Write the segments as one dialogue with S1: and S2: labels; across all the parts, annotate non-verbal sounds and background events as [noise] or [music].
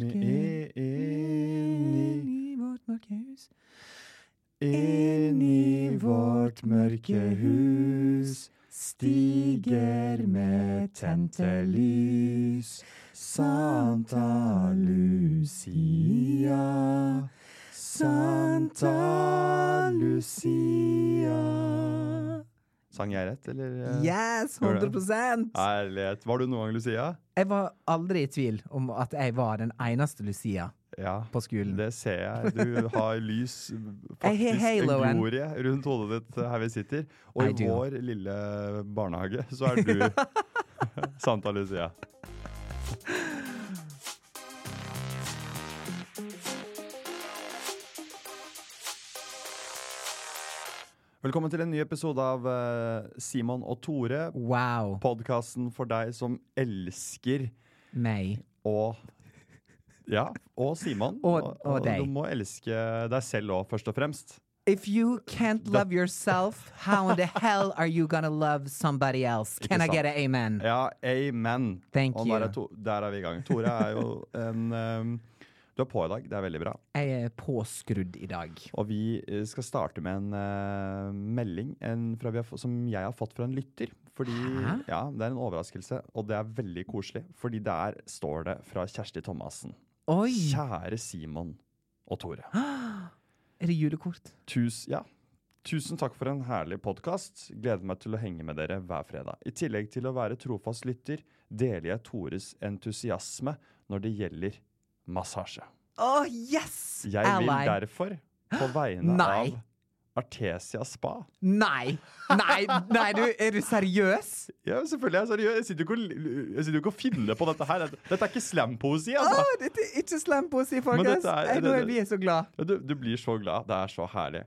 S1: Inn i vårt mørke hus. Inn
S2: Inn
S1: i
S2: i vårt
S1: vårt mørke hus.
S2: mørke hus stiger med tente lys Santa Lucia. Santa Lucia. Sang jeg rett, eller? eh?
S1: Yes,
S2: Gjør det.
S1: 100
S2: Ærlighet. Var du noen gang Lucia?
S1: Jeg var aldri i tvil om at jeg var den eneste Lucia
S2: Ja.
S1: på skolen.
S2: Det ser jeg. Du har lys,
S1: [laughs] Jeg har
S2: faktisk en
S1: haloen.
S2: glorie rundt hodet ditt eh, her vi sitter. Og
S1: I
S2: i
S1: do.
S2: vår lille barnehage så er du
S1: [laughs]
S2: Santa Lucia. Velkommen til en ny episode av eh, Simon og Tore.
S1: Wow.
S2: Podkasten for deg som elsker
S1: Meg.
S2: og Ja, og Simon.
S1: Og- og deg.
S2: Du må elske deg selv òg, først og fremst.
S1: If you can't love yourself, how in the hell are you gonna love somebody else? Can I
S2: sant.
S1: get an amen?
S2: Ja, amen.
S1: Mm. Thank
S2: og
S1: you.
S2: Der er, to, der er vi i gang. Tore er jo
S1: [laughs]
S2: en um, Du er på i dag, det er veldig bra.
S1: Jeg er påskrudd i dag.
S2: Og vi eh, skal starte med en eh, melding en fra vi har, få- som jeg har fått fra en lytter. Fordi,
S1: Hæ?
S2: ja, Det er en overraskelse, og det er veldig koselig. Fordi der står det fra Kjersti Thomassen.
S1: Oi!
S2: Kjære Simon og Tore.
S1: Er det julekort?
S2: Tus, ja. Tusen takk for en herlig podkast. Gleder meg til å henge med dere hver fredag. I tillegg til å være trofast lytter, deler jeg Tores entusiasme når det gjelder massasje.
S1: Å, yes!
S2: Jeg vil
S1: Ally.
S2: derfor, på vegne
S1: Nei.
S2: av Artesia Spa
S1: Nei! Nei, nei du, er du seriøs?
S2: Ja, selvfølgelig. Jeg, er seriøs. jeg sitter jo ikke og l- jeg sitter jo ikke og finner på dette her. Dette- Dette er ikke slampoesi,
S1: Å,
S2: altså.
S1: dette er ikke slem på å si,
S2: Men
S1: folkens.
S2: dette er-
S1: Jeg- Nå er
S2: det-
S1: vi så glad.
S2: Ja, Du, du blir så glad. Det er så herlig.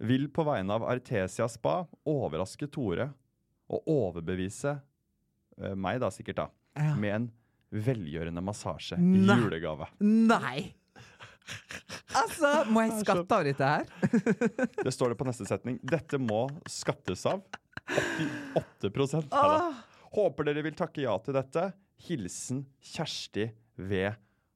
S2: Vil på vegne av Artesia Spa overraske Tore og overbevise eh, meg, da sikkert, da,
S1: Ja.
S2: med en velgjørende massasje i
S1: Nei.
S2: julegave. [laughs]
S1: Nei! Altså, må jeg skatte av dette her?
S2: Det står det på neste setning. Dette må skattes av. 88 Nei da.
S1: Åh,
S2: Håper dere vil takke ja til dette. Hilsen Kjersti ved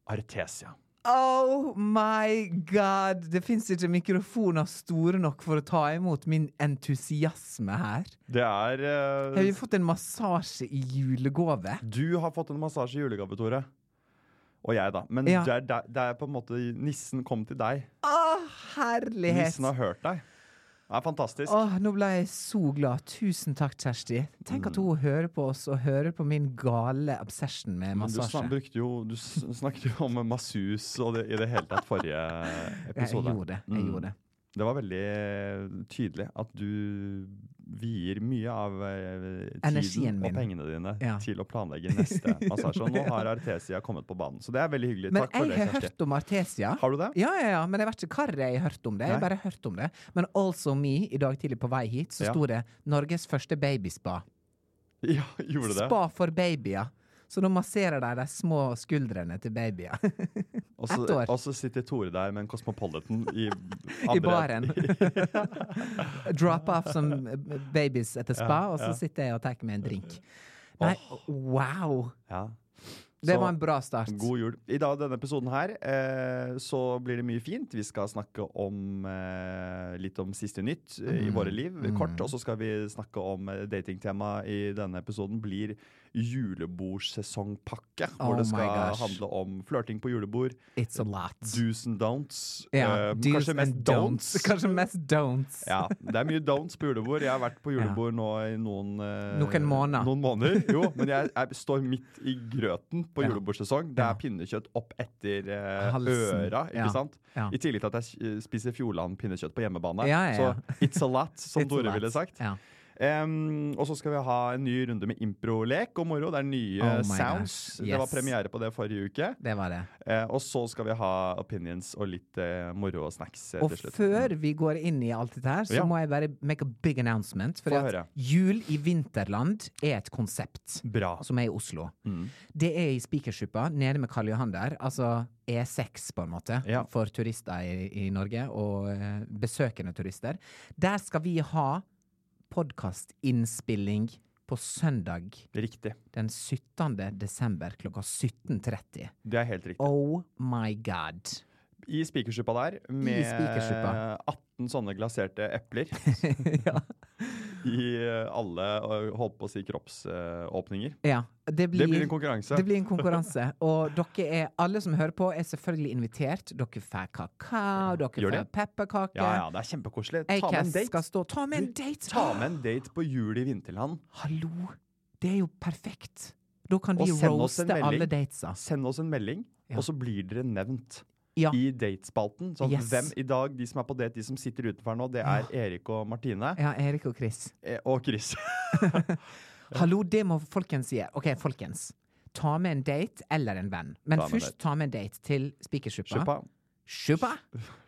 S2: Artesia.
S1: oh my god! Det fins ikke mikrofoner store nok for å ta imot min entusiasme her.
S2: Det er
S1: Har
S2: eh,
S1: vi fått en massasje i julegave?
S2: Du har fått en massasje i julegave, Tore. Og jeg, da. Men
S1: Ja.
S2: det, er, der- det er på en måte Nissen kom til deg.
S1: Å, herlighet!
S2: Nissen har hørt deg. Det er fantastisk.
S1: Åh, nå ble jeg så glad. Tusen takk, Kjersti. Tenk at
S2: Mm.
S1: hun hører på oss og hører på min gale obsession med
S2: Men du, snak,
S1: massasje.
S2: brukte jo, du s- snakket jo om massus og det, i det hele tatt
S1: [laughs]
S2: forrige
S1: Jeg
S2: episode.
S1: gjorde det. Jeg
S2: Mm.
S1: gjorde det.
S2: Det var veldig tydelig at du vier mye av eh,
S1: Energien
S2: tiden og
S1: min.
S2: pengene dine
S1: Ja.
S2: til å planlegge neste
S1: [laughs]
S2: massasje. Og nå har Artesia kommet på banen, så det er veldig hyggelig.
S1: Men
S2: Takk for
S1: jeg
S2: det,
S1: har
S2: Kjersti.
S1: hørt om Artesia.
S2: Har du det?
S1: Ja, ja, ja, men jeg vet ikke hvor jeg har hørt om det. Jeg har
S2: Nei.
S1: bare hørt om det. Men Also Me, i dag tidlig på vei hit, så
S2: Ja.
S1: sto det 'Norges første babyspa'.
S2: [laughs] Ja, gjorde du det?
S1: Spa for babyer. Så da masserer de de små skuldrene til babyer. [laughs]
S2: Og så,
S1: Ett år.
S2: og så sitter Tore der med en Cosmopolitan
S1: [laughs]
S2: i,
S1: I
S2: andre- [laughs]
S1: baren. Drop off som babies etter spa, og så sitter jeg og tar meg en drink. Nei, wow!
S2: ja.
S1: Det
S2: Så,
S1: var en bra start.
S2: God jul. I dag, denne episoden her, eh, så blir det mye fint. Vi skal snakke om eh, litt om siste nytt eh,
S1: Mm.
S2: i våre liv, kort. Og så skal vi snakke om eh, datingtemaet i denne episoden blir julebordsesongpakke.
S1: Oh
S2: hvor det
S1: my
S2: skal
S1: gosh.
S2: handle om flørting på julebord,
S1: It's a lot.
S2: do's and don'ts.
S1: Ja,
S2: eh,
S1: do's
S2: kanskje mest
S1: and don'ts. Kanskje mest don'ts.
S2: [laughs] Ja, Det er mye don'ts på julebord. Jeg har vært på julebord nå i noen eh,
S1: Noen måneder.
S2: Noen måneder, Jo, men jeg, jeg står midt i grøten på
S1: Ja.
S2: julebordsesong. Det
S1: Ja. Ah,
S2: er pinnekjøtt opp etter eh,
S1: Halsen.
S2: øra, ikke
S1: Ja.
S2: sant?
S1: Ja.
S2: I tillegg til at jeg eh, spiser Fjordland pinnekjøtt på hjemmebane.
S1: Ja, ja, ja.
S2: Så it's a lot, som
S1: It's a
S2: Tore
S1: lot.
S2: ville sagt.
S1: Ja.
S2: Em, og så skal vi ha en ny runde med improlek og moro. Det er nye
S1: Oh my
S2: sounds.
S1: gosh,
S2: Det var
S1: yes.
S2: premiere på det forrige uke.
S1: Det var det.
S2: Eh, og så skal vi ha opinions og litt eh, moro og snacks eh,
S1: Og
S2: til slutt.
S1: før vi går inn i alt dette her, så
S2: Ja.
S1: må jeg bare make a big announcement. For
S2: Få
S1: at
S2: høre.
S1: jul i vinterland er et konsept
S2: Bra. Mm.
S1: som er i Oslo. Det er i Spikersuppa, nede med Karl Johan der. Altså E6, på en måte,
S2: Ja.
S1: for turister i, i Norge, og eh, besøkende turister. Der skal vi ha podkastinnspilling på søndag
S2: Riktig.
S1: den 17. desember klokka 17.30.
S2: Det er helt riktig.
S1: Oh my god.
S2: I spikersuppa der, med
S1: spikersuppa.
S2: 18 sånne glaserte epler
S1: [laughs] ja.
S2: i eh, alle, eh, holdt på å si, kroppsåpninger.
S1: ja. Det blir,
S2: Det blir en konkurranse.
S1: Det
S2: [laughs]
S1: blir en konkurranse. Og dere er, alle som hører på, er selvfølgelig invitert. Dere får kakao, dere
S2: Gjør det.
S1: får pepperkaker.
S2: Ja, ja, det er kjempekoselig. Ta med en
S1: Acast skal
S2: date.
S1: stå Ta med en date!
S2: Ta med en date på jul i vinterland.
S1: [gasps] Hallo! Det er jo perfekt. Da kan
S2: Og
S1: vi
S2: send oss en
S1: roaste
S2: melding.
S1: alle datesa.
S2: Send oss en melding,
S1: Ja.
S2: og så blir dere nevnt.
S1: Ja.
S2: I datespalten. Sånn,
S1: Yes.
S2: hvem i dag, De som er på date, de som sitter utenfor nå, det er Erik og Martine.
S1: ja, Erik og Chris.
S2: eh, Og Chris.
S1: Hallo, det må folkens gjøre. OK, folkens. Ta med en date eller en venn. Men
S2: Ta med en
S1: først
S2: date.
S1: ta med en date til Spikersuppa.
S2: Kjøpa.
S1: Suppa?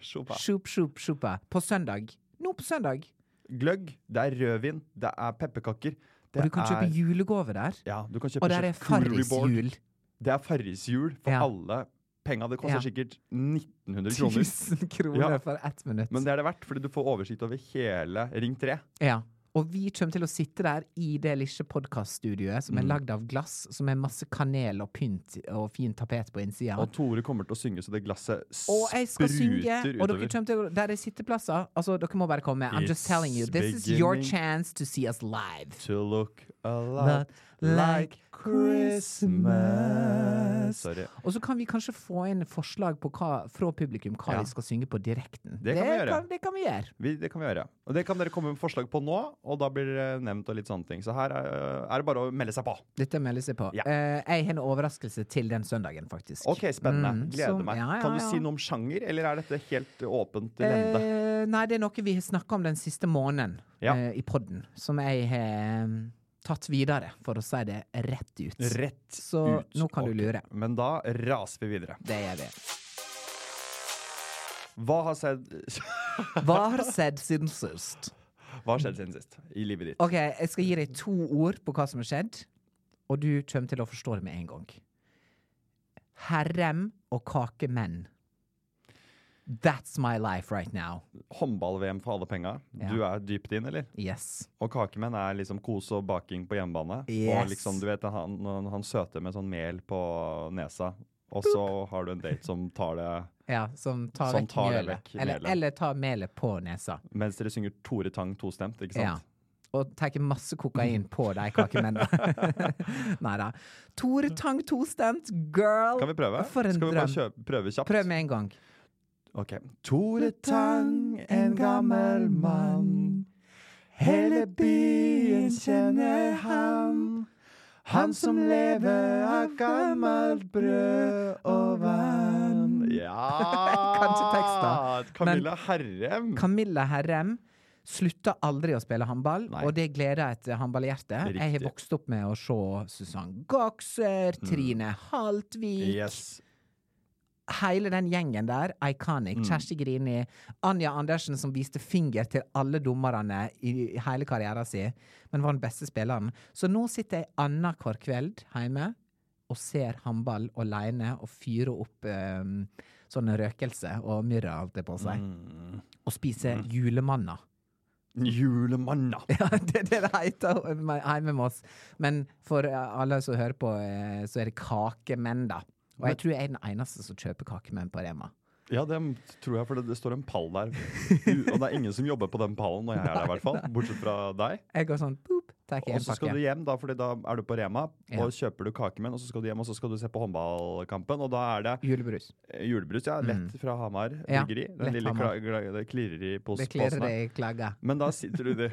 S2: Kjøpa.
S1: Sup, sup, suppa. På søndag. Nå på søndag.
S2: Gløgg, det er rødvin, det er pepperkaker. Det
S1: Og du kan
S2: er,
S1: kjøpe julegave der.
S2: Ja, du kan kjøpe
S1: Og der er
S2: charcuterie board.
S1: Farris-jul.
S2: Det er farrishjul for
S1: Ja.
S2: alle penga. Det koster
S1: Ja.
S2: sikkert 1900 kroner.
S1: 1000 kroner
S2: Ja.
S1: for ett minutt.
S2: Men det er det verdt, fordi du får oversikt over hele Ring 3.
S1: Ja. Og vi kommer til å sitte der i det lille podkaststudioet
S2: Mm.
S1: som er lagd av glass, som er masse kanel og pynt og fin tapet på innsida.
S2: Og Tore kommer til å synge så det glasset
S1: Og jeg skal synge,
S2: spruter
S1: og dere
S2: utover.
S1: kommer til å Der er sitteplasser. Altså, dere må bare komme. I'm just
S2: It's
S1: telling you. This is your
S2: beginning.
S1: chance to see us live.
S2: To look a lot like Christmas. Sorry.
S1: Og så kan vi kanskje få inn forslag på hva, fra publikum hva
S2: Ja.
S1: de skal synge på direkten.
S2: Det kan vi gjøre.
S1: Kan, det kan vi gjøre.
S2: Vi, det kan vi gjøre. Og det kan dere komme med forslag på nå, og da blir det nevnt og litt sånne ting. Så her er, er det bare å melde seg på.
S1: Dette melder seg på.
S2: Ja.
S1: Eh, jeg har en overraskelse til den søndagen, faktisk.
S2: Ok, spennende.
S1: Mm,
S2: Gleder
S1: så-
S2: meg.
S1: ja, ja,
S2: Kan du
S1: ja.
S2: si noe om sjanger, eller er dette helt åpent lende?
S1: Eh, nei, det er noe vi har snakka om den siste måneden
S2: Ja.
S1: eh, i podden, som jeg har mm, tatt videre, for å si det rett ut.
S2: Rett
S1: Så
S2: ut.
S1: nå kan
S2: Ok.
S1: du lure.
S2: Men da raser vi videre.
S1: Det gjør vi.
S2: Hva har skjedd, [laughs]
S1: Hva har skjedd siden sist?
S2: hva har skjedd siden sist i livet ditt?
S1: OK, jeg skal gi deg to ord på hva som har skjedd, og du kommer til å forstå det med en gang. Herrem og kakemenn. That's my life right now.
S2: Håndball-VM for alle penga. Du er dypt inn, eller?
S1: Yes.
S2: Og kakemenn er liksom kos og baking på hjemmebane.
S1: Yes.
S2: Og liksom, du vet, han, når han søter med sånn mel på nesa, og så har du en date som tar det
S1: Ja, som tar
S2: Som
S1: vekk
S2: tar det
S1: mjølet.
S2: vekk
S1: Eller,
S2: melet.
S1: eller tar melet på nesa.
S2: mens dere synger Tore Tang tostemt, ikke
S1: Ja.
S2: sant?
S1: Og tar masse kokain på de kakemennene.
S2: [laughs]
S1: Nei da. Tore Tang tostemt, girl!
S2: Kan vi prøve?
S1: For en
S2: Skal vi bare
S1: drøm.
S2: kjøpe, prøve kjapt?
S1: Prøv med en gang.
S2: Ok. Tore Tang, en gammel mann. Hele byen kjenner han. Han som lever av gammelt brød og vann. [laughs] Ja!
S1: Kan ikke teksten.
S2: Camilla Herrem.
S1: Camilla Herrem slutta aldri å spille håndball,
S2: Nei.
S1: og det gleder et håndballhjerte.
S2: Riktig. Mm.
S1: Jeg har vokst opp med å se Susann Goxer, Trine Haltvik
S2: Yes.
S1: Hele den gjengen der, iconic. Kjersti Grini, Anja Andersen som viste finger til alle dommerne i hele karrieren sin, men var den beste spilleren. Så nå sitter jeg annenhver kveld hjemme og ser håndball aleine og fyrer opp um, sånne røkelse og myrra, holdt jeg på å si, og spiser julemanner. [laughs]
S2: Julemanna.
S1: Ja, det er det det heter hjemme med oss. Men for eh, alle som hører på, eh, så er det kakemenn, da. Og jeg tror jeg er den eneste som kjøper kakemenn på Rema.
S2: Ja, det tror jeg, for det, det står en pall [laughs] der. U- Og det er ingen som jobber på den pallen når jeg er der, i hvert fall. Bortsett fra deg.
S1: Jeg går sånn boop, tar jeg
S2: Og
S1: en
S2: så skal
S1: pakke.
S2: du hjem, da, Fordi da er du på Rema
S1: Ja.
S2: og kjøper du kakemenn. Og så skal du hjem og så skal du se på håndballkampen, og da er det
S1: Julebrus.
S2: eh, julebrus. ja, Lett fra Hamar
S1: Mm. Ja,
S2: bryggeri. Den
S1: lett
S2: lille
S1: Hamar.
S2: kla- gla- det klirrer i pos-
S1: Det klirrer
S2: posen
S1: det
S2: her.
S1: i klagga.
S2: Men da sitter du det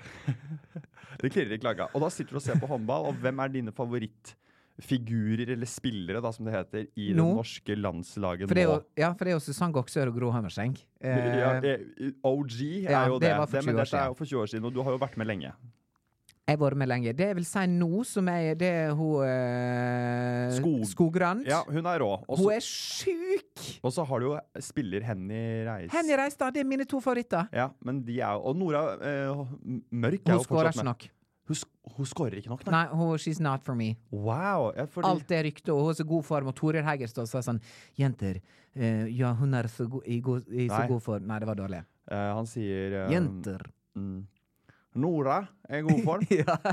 S2: [laughs] Det klirrer i klagga. Og da sitter du og ser på håndball, og hvem er dine favorittfigurer eller spillere, da, som det heter, i det
S1: Nå?
S2: norske landslaget
S1: For det er jo,
S2: nå?
S1: ja, for det er jo Susann Goksør og Gro Hammerseng.
S2: [laughs]
S1: Eh,
S2: Ja, eh, OG er
S1: ja,
S2: jo
S1: det
S2: det,
S1: var for
S2: det
S1: 20
S2: men
S1: år
S2: dette er
S1: siden.
S2: jo for 20 år siden, og du har jo vært med lenge.
S1: Jeg har vært med lenge. Det jeg vil si nå, som er det er hun eh,
S2: Skog-
S1: Skogrand
S2: Ja, hun er rå. Og
S1: Hun
S2: så-
S1: er sjuk!
S2: og så har du jo eh, spiller Henny Reis.
S1: Henny Reistad, det er mine to favoritter.
S2: Ja, men de er jo Og Nora eh, Mørk er
S1: Hun
S2: jo fortsatt
S1: skårer ikke
S2: med.
S1: nok.
S2: Hun, sk- hun skårer ikke nok, nei.
S1: Nei, hun, she's not for me.
S2: Wow! Ja, fordi,
S1: Alt er rykte, og hun er så god form. Og Toril Hegerstad sa sånn Jenter, eh, ja, hun er så god, i, god, i så
S2: Nei.
S1: god form Nei, det var dårlig.
S2: eh, han sier eh,
S1: Jenter.
S2: Mm, Nora er i god
S1: [laughs]
S2: form.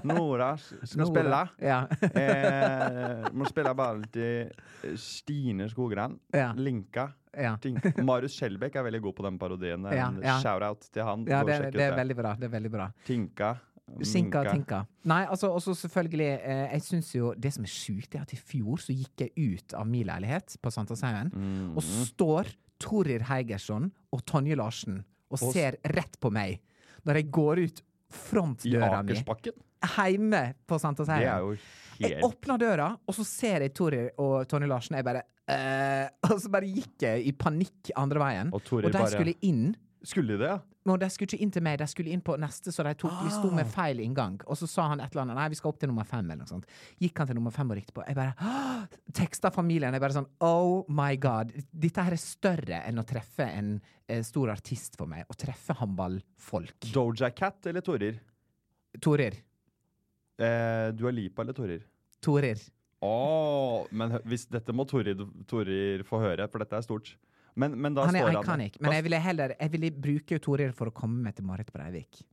S2: Nora s- skal
S1: Nora.
S2: spille.
S1: Ja. [laughs]
S2: Eh, må spille ballen til eh, Stine Skogran.
S1: Ja.
S2: Linka.
S1: ja.
S2: Ting. Marius Skjelbæk er veldig god på den parodien.
S1: Ja,
S2: En
S1: ja.
S2: Shout-out til han.
S1: ja
S2: Gå og
S1: det,
S2: sjekk ut Mm,
S1: det er veldig bra. Det er veldig bra.
S2: Tinka.
S1: Sinka og
S2: Minka.
S1: tinka. Nei, altså, også selvfølgelig eh, Jeg syns jo Det som er sjukt, er at i fjor så gikk jeg ut av min leilighet på Sankthanshaugen, og
S2: Mm.
S1: står Torir Heigersson og Tonje Larsen og
S2: Og s-
S1: ser rett på meg når jeg går ut
S2: I
S1: frontdøra mi
S2: Akersbakken.
S1: hjemme
S2: Det
S1: på
S2: er
S1: Sankthanshaugen.
S2: jo
S1: Jeg
S2: helt
S1: åpna døra, og så ser jeg Torir og Tonje Larsen, og jeg bare eh, [laughs] Og så bare gikk jeg i panikk andre veien,
S2: Og
S1: og,
S2: Torir
S1: de
S2: bare-
S1: skulle inn.
S2: Skulle de det, ja?
S1: Men de skulle ikke inn til meg, de skulle inn på neste, så de, tok, de sto
S2: Ah.
S1: med feil inngang. Og så sa han et eller annet Nei, vi skal opp til nummer fem, eller noe sånt. Gikk han til nummer fem og riktig på. Jeg bare «Åh!» Teksta familien. Jeg bare sånn Oh my god. Dette her er større enn å treffe en eh, stor artist for meg. Å treffe håndballfolk.
S2: Doja Cat eller Torir?
S1: Torir.
S2: Eh, Dua Lipa eller Torir?
S1: Torir.
S2: Åh, men hø- hvis, dette må Torir, Torir få høre, for dette er stort. Men, men da
S1: Han er
S2: står
S1: iconic.
S2: Hva
S1: Men jeg ville heller Jeg ville bruke Torir for å komme meg til Marit Breivik.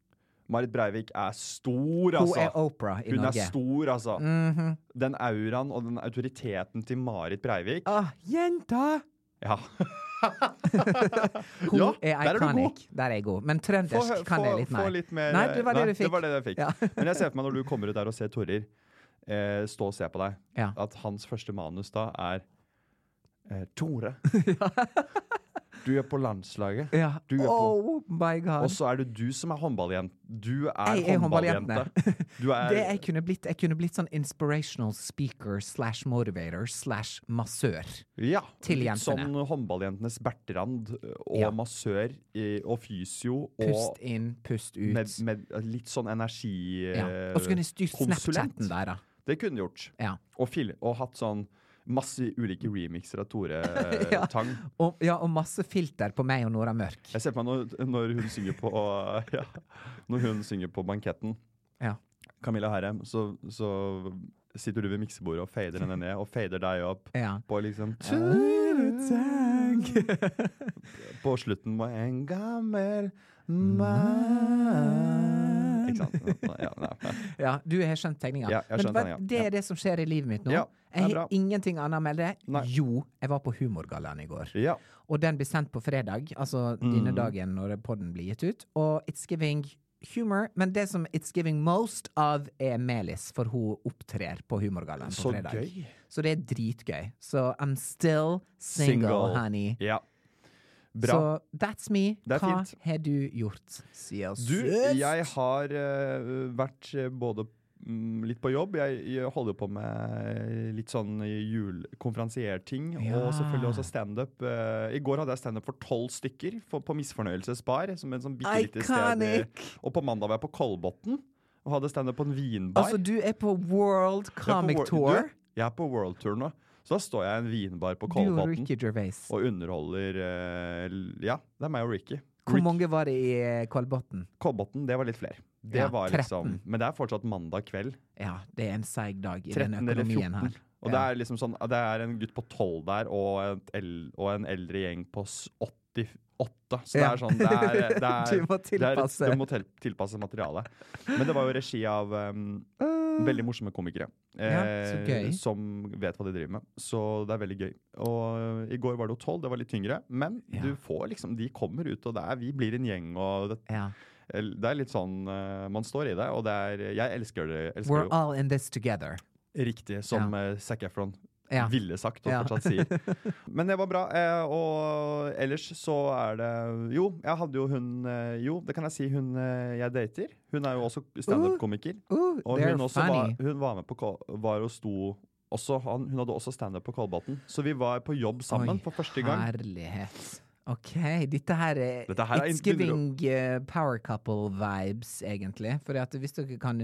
S2: Marit Breivik er stor,
S1: Hun
S2: altså.
S1: er opera i
S2: Hun er
S1: Norge. Mm. Mhm.
S2: stor, altså. Den auraen og den autoriteten til Marit Breivik
S1: Åh, jenta!
S2: Ja.
S1: Hun
S2: Ja, der
S1: er
S2: er du
S1: iconic. Der er jeg god. Men
S2: Få,
S1: trøndersk
S2: hø-
S1: kan
S2: få,
S1: jeg litt
S2: få
S1: mer.
S2: litt mer
S1: Nei, det var det du fikk. [laughs]
S2: var det jeg fikk.
S1: Ja.
S2: [laughs] Men jeg ser for meg når du kommer ut der og ser Torir eh, stå og se på deg,
S1: Ja.
S2: at hans første manus da er eh,
S1: [laughs]
S2: Tore, du er på landslaget.
S1: Ja.
S2: Du er på
S1: oh my god.
S2: Og så er det du som er håndballjente. Du er,
S1: Jeg er
S2: håndballjente.
S1: [laughs] håndballjentene.
S2: Du er,
S1: det jeg kunne blitt, jeg kunne blitt sånn inspirational speaker slash motivator slash massør.
S2: ja,
S1: til
S2: litt
S1: jentene.
S2: Sånn håndballjentenes Bertrand eh, og
S1: Ja.
S2: massør i- og fysio
S1: Pust
S2: og
S1: inn, pust ut.
S2: med, med litt sånn energi... eh,
S1: ja. Og så kunne jeg styrt
S2: konsulent.
S1: Snapchaten der, da.
S2: Det kunne du gjort.
S1: Ja.
S2: Og, fil, og hatt sånn masse ulike remixer av Tore eh,
S1: [laughs] Ja.
S2: Tang.
S1: Og, ja, og masse filter på meg og Nora Mørk.
S2: Jeg ser på meg når, når hun synger på [laughs] ja, Når hun synger på banketten,
S1: Ja.
S2: Camilla Herrem, så, så sitter du ved miksebordet og fader henne ned, og fader deg opp
S1: Ja.
S2: på liksom På slutten var en gammel
S1: Mm.
S2: mann Ikke sant? Ja,
S1: [laughs]
S2: ja.
S1: [laughs] ja, du har skjønt tegninga.
S2: Ja, jeg har skjønt
S1: Men vet-
S2: tegninga.
S1: det
S2: Ja.
S1: er det som skjer i livet mitt nå.
S2: Ja, det er
S1: jeg
S2: bra.
S1: har ingenting annet å melde.
S2: Nei.
S1: Jo, jeg var på Humorgallaen i går.
S2: ja.
S1: Og den blir sendt på fredag, altså
S2: Mm.
S1: denne dagen når podden blir gitt ut. Og It's Giving Humor, men det som It's Giving most of, er Melis, for hun opptrer på Humorgallaen på
S2: Så
S1: fredag.
S2: gøy.
S1: Så det er dritgøy. Så I'm still single, honey.
S2: Ja. Bra.
S1: Så that's me.
S2: Det er
S1: Hva
S2: fint.
S1: har du gjort siden
S2: Du,
S1: sist?
S2: jeg har eh, vært eh, både mm, litt på jobb, jeg, jeg holder på med litt sånn julekonferansierting,
S1: Ja.
S2: og selvfølgelig også standup. Eh, I går hadde jeg standup for tolv stykker for, på Misfornøyelsesbar, som en sånn bitte lite sted. i-
S1: Iconic!
S2: Og på mandag var jeg på Kolbotn og hadde standup på en vinbar.
S1: Altså, du er på World
S2: Jeg er på
S1: Comic
S2: wor-
S1: Tour.
S2: Du, jeg er på World Tour nå, så da står jeg i en vinbar på
S1: Du og
S2: Kolbotn
S1: Ricky Gervais.
S2: og underholder eh, l- Ja, det er meg og Ricky.
S1: Hvor
S2: Ricky-
S1: mange var det i eh, Kolbotn?
S2: Kolbotn, det var litt flere. Det
S1: Ja,
S2: var
S1: 13.
S2: liksom, men det er fortsatt mandag kveld.
S1: Ja, det er en seig dag i
S2: 13
S1: denne
S2: eller 14.
S1: økonomien her.
S2: Og det
S1: Ja.
S2: er liksom sånn Det er en gutt på 12 der og, et el, og en eldre gjeng på s- 88. Så det
S1: Ja.
S2: er sånn Det er, det
S1: [laughs]
S2: er,
S1: Du må
S2: det er,
S1: tilpasse.
S2: du må tel, tilpasse materialet. Men det var jo regi av um, veldig morsomme komikere.
S1: Ah.
S2: eh,
S1: Ja, så gøy.
S2: Som vet hva de driver med. Så det er veldig gøy. Og eh, i går var det jo 12, det var litt tyngre. Men
S1: Ja.
S2: du får liksom De kommer ut, og det er, vi blir en gjeng, og det,
S1: Ja.
S2: det er litt sånn eh, Man står i det, og det er Jeg elsker det. jeg Elsker
S1: We're
S2: det jo.
S1: all in this together.
S2: Riktig, som ja. Zac Efron
S1: Ja.
S2: ville sagt og
S1: Ja.
S2: fortsatt
S1: [laughs]
S2: sier. Men det var bra. eh, Og ellers så er det Jo, jeg hadde jo hun eh, Jo, det kan jeg si, hun eh, jeg dater. Hun er jo også standup-komiker.
S1: Ooh,
S2: Og
S1: they're
S2: hun, også var,
S1: funny.
S2: hun var med på Kol- var og sto også, han, Hun hadde også standup på Kolbotn. Så vi var på jobb sammen
S1: Oi,
S2: for første gang.
S1: Herlighet. OK, dette her er
S2: Dette her er
S1: It's
S2: en-
S1: giving eh, power couple vibes, egentlig. For at hvis dere kan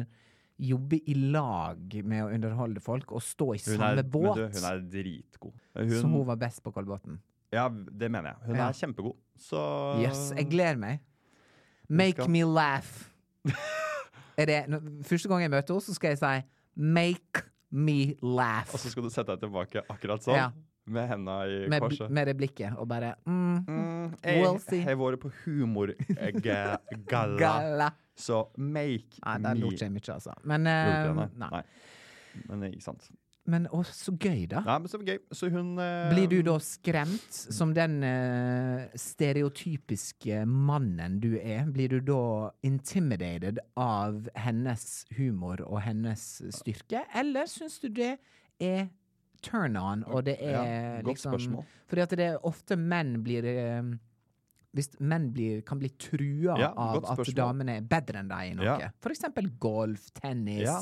S1: jobbe i lag med å underholde folk og stå i
S2: Hun
S1: samme
S2: er, men du,
S1: båt
S2: hun er dritgod.
S1: som hun
S2: Hun,
S1: var best på Kolbotn.
S2: ja, det mener jeg. Hun
S1: Ja.
S2: er kjempegod. Så
S1: Yes, jeg gleder meg. Make
S2: Ah. skal-
S1: me laugh. Er det, nå- første gang jeg møter henne, så skal jeg si make me laugh.
S2: Og så skal du sette deg tilbake akkurat sånn,
S1: Ja.
S2: med henda i
S1: med, bl-
S2: korset.
S1: med det blikket, og bare mm,
S2: Mm,
S1: We'll see.
S2: jeg har vært på humorgalla,
S1: Galla.
S2: så make
S1: Nei, der lot
S2: me
S1: jeg mye, altså. Men,
S2: Gjorde
S1: eh,
S2: ikke det,
S1: nei.
S2: nei. Men eh, ikke sant.
S1: Men å, så gøy, da.
S2: Nei, men så gøy. Så hun eh,
S1: Blir du da skremt som den eh, stereotypiske mannen du er? Blir du da intimidated av hennes humor og hennes styrke, eller syns du det er turn on, og det er
S2: Ja, godt
S1: liksom
S2: spørsmål.
S1: Fordi at det er ofte menn blir eh, hvis menn blir, kan bli trua
S2: Ja,
S1: av
S2: godt
S1: at
S2: spørsmål.
S1: damene er bedre enn deg i noe.
S2: Ja.
S1: For eksempel golf, tennis.
S2: Ja.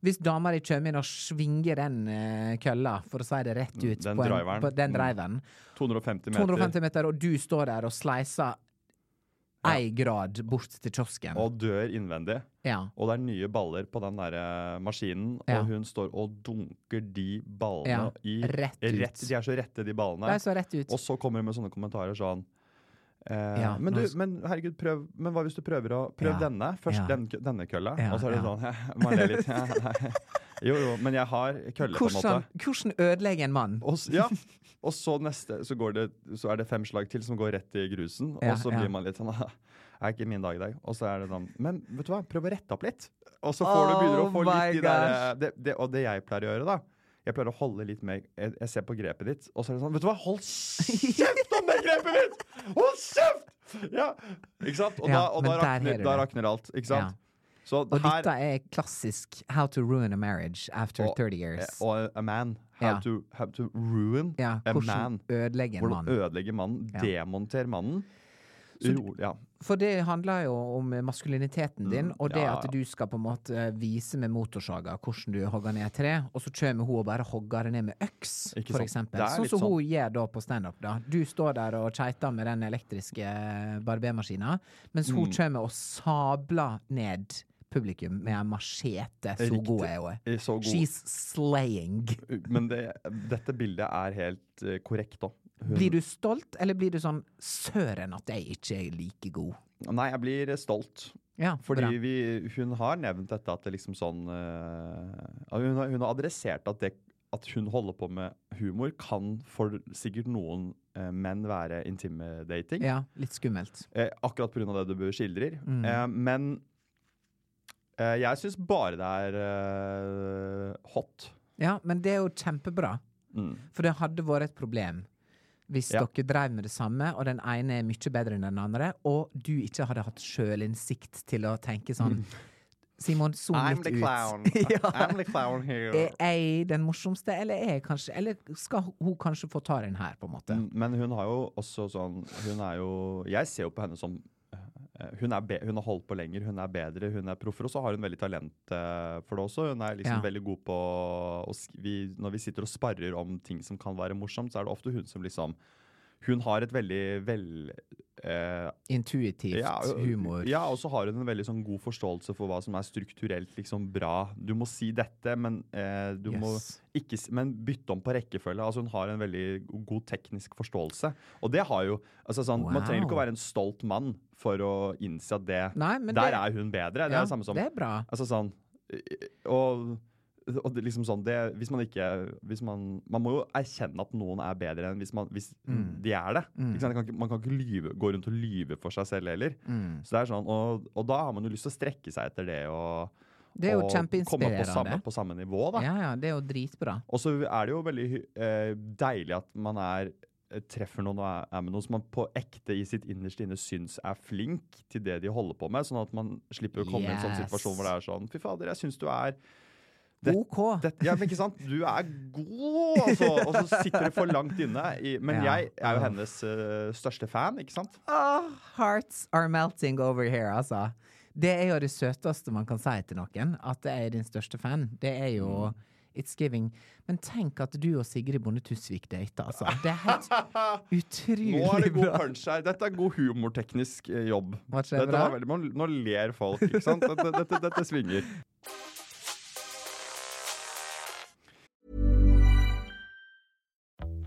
S1: Hvis damer de kommer inn og svinger den eh, kølla, for å si det rett ut,
S2: Den
S1: på en,
S2: driveren.
S1: På den
S2: Mm.
S1: driveren
S2: 250 meter.
S1: 250 meter, og du står der og sleiser én grad bort til kiosken.
S2: Og dør innvendig.
S1: ja.
S2: Og det er nye baller på den der eh, maskinen,
S1: Ja.
S2: og hun står og dunker de ballene
S1: Ja,
S2: i
S1: rett ut.
S2: De er så rette, de ballene.
S1: Det er så rett ut.
S2: Og så kommer hun med sånne kommentarer sånn eh,
S1: Ja,
S2: men,
S1: nå
S2: du,
S1: s-
S2: men herregud, prøv Men hva hvis du prøver å Prøv
S1: Ja,
S2: denne. Først
S1: ja.
S2: den, kø- denne kølla.
S1: Ja,
S2: og så er det
S1: ja.
S2: sånn [laughs] Man ler
S1: [laughs]
S2: litt. [laughs] jo, jo, men jeg har kølle, på en måte.
S1: Hvordan, hvordan ødelegge en mann?
S2: Og, s- ja. [laughs] og så neste så, går det, så er det fem slag til som går rett i grusen.
S1: Ja,
S2: og så
S1: ja.
S2: blir man litt sånn [laughs] Er ikke min dag i dag. Og så er det sånn Men vet du hva, prøv å rette opp litt. Og så får du begynner å
S1: Oh
S2: få
S1: my
S2: litt de der eh, det, det, Og det jeg pleier å gjøre, da. Jeg pleier å holde litt med Jeg, jeg ser på grepet ditt, og så er det sånn Vet du hva, hold kjeft om det grepet mitt! Hold kjeft! Ja, ikke sant? Og, da,
S1: Ja,
S2: og
S1: men
S2: da,
S1: der har
S2: rakner,
S1: du
S2: da
S1: det.
S2: rakner alt, ikke sant? Så
S1: Og
S2: her
S1: dette er klassisk How to ruin a marriage after
S2: og, eh,
S1: 30 years.
S2: og a man. How,
S1: Ja.
S2: to, how to ruin
S1: ja,
S2: a man.
S1: hvordan ødelegge en
S2: Hvordan
S1: mann.
S2: ødelegge mannen,
S1: Ja.
S2: demontere mannen. Ro, ja.
S1: For det handler jo om maskuliniteten din, og det
S2: Mm, ja,
S1: at du skal på en måte eh, vise med motorsaga hvordan du hogger ned et tre, og så kommer hun og bare hogger det ned med øks,
S2: Ikke
S1: for
S2: sant.
S1: eksempel.
S2: Det er
S1: Sånn
S2: litt
S1: som
S2: sånn.
S1: hun gjør da på standup, da. Du står der og keiter med den elektriske barbermaskina, mens
S2: Mm.
S1: hun kommer og sabler ned publikum med en machete. Så
S2: Riktig.
S1: god er hun.
S2: Eh, Så god.
S1: She's slaying.
S2: Men det, dette bildet er helt eh, korrekt òg.
S1: Blir du stolt, eller blir du sånn søren at jeg ikke er like god?
S2: Nei, jeg blir eh, stolt.
S1: Ja, bra.
S2: Fordi vi, hun har nevnt dette at det liksom sånn eh, at hun, har, hun har adressert at det at hun holder på med humor, kan for sikkert noen eh, menn være intimidating.
S1: Ja, litt skummelt.
S2: Eh, akkurat pga. det du skildrer. Eh, men eh, jeg syns bare det er eh, hot.
S1: Ja, men det er jo kjempebra.
S2: Mm.
S1: For det hadde vært et problem hvis
S2: Ja.
S1: dere drev med det samme, og den ene er mye bedre enn den andre, og du ikke hadde hatt sjølinnsikt til å tenke
S2: Mm.
S1: sånn Simon, zoom
S2: I'm
S1: litt
S2: the
S1: ut.
S2: clown.
S1: [laughs] ja.
S2: I'm the clown here.
S1: Er jeg den morsomste, eller er jeg kanskje Eller skal hun kanskje få ta den her, på en måte?
S2: Men hun har jo også sånn Hun er jo Jeg ser jo på henne som eh, hun, er be, hun har holdt på lenger, hun er bedre, hun er proffer. Og så har hun veldig talent eh, for det også. Hun er liksom
S1: Ja.
S2: veldig god på å sk- vi, Når vi sitter og sparrer om ting som kan være morsomt, så er det ofte hun som liksom Hun har et veldig vel... eh,
S1: Intuitivt
S2: og-
S1: humor.
S2: Ja, og så har hun en veldig sånn god forståelse for hva som er strukturelt liksom bra. Du må si dette, men eh, du
S1: Yes.
S2: må ikke si, men bytte om på rekkefølge. Altså Hun har en veldig god teknisk forståelse. Og det har jo altså sånn, Man trenger ikke å
S1: Wow.
S2: være en stolt mann for å innse at det
S1: Nei, men
S2: Der
S1: det-
S2: er hun bedre. Det er
S1: Ja,
S2: det samme som
S1: det er bra.
S2: Altså sånn Og, og det, liksom sånn det, Hvis man ikke hvis man, man må jo erkjenne at noen er bedre enn hvis, man, hvis
S1: Mm.
S2: de er det. Ikke sant? Man, kan ikke, man kan ikke lyve, gå rundt og lyve for seg selv heller.
S1: Mm.
S2: Så det er sånn, og, og da har man jo lyst til å strekke seg etter det og,
S1: Det er jo
S2: og komme på samme,
S1: kjempeinspirerende.
S2: på samme nivå. da.
S1: Ja, ja, det er jo dritbra.
S2: Og så er det jo veldig hy- eh, deilig at man er eh, treffer noen og er, er med noen som man på ekte i sitt innerste inne syns er flink til det de holder på med, sånn at man slipper å komme i en sånn
S1: Yes.
S2: situasjon hvor det er sånn Fy fader, jeg syns du er Det-
S1: OK.
S2: dette, ja, men ikke sant? Du er god, altså! Og så sitter det for langt inne. I, men
S1: Ja.
S2: jeg er jo hennes eh, største fan, ikke sant?
S1: Ah, hearts are melting over here, altså. Det er jo det søteste man kan si til noen, at jeg er din største fan. Det er
S2: Mm.
S1: jo It's giving. Men tenk at du og Sigrid Bonde Tusvik data, altså. Det er
S2: [laughs]
S1: helt
S2: Nå er det
S1: utrolig
S2: god
S1: bra.
S2: punch her. Dette er god humorteknisk eh, jobb.
S1: Var ikke det
S2: Dette
S1: bra?
S2: var veldig, man, nå ler folk, ikke sant? Dette, dette, dette svinger.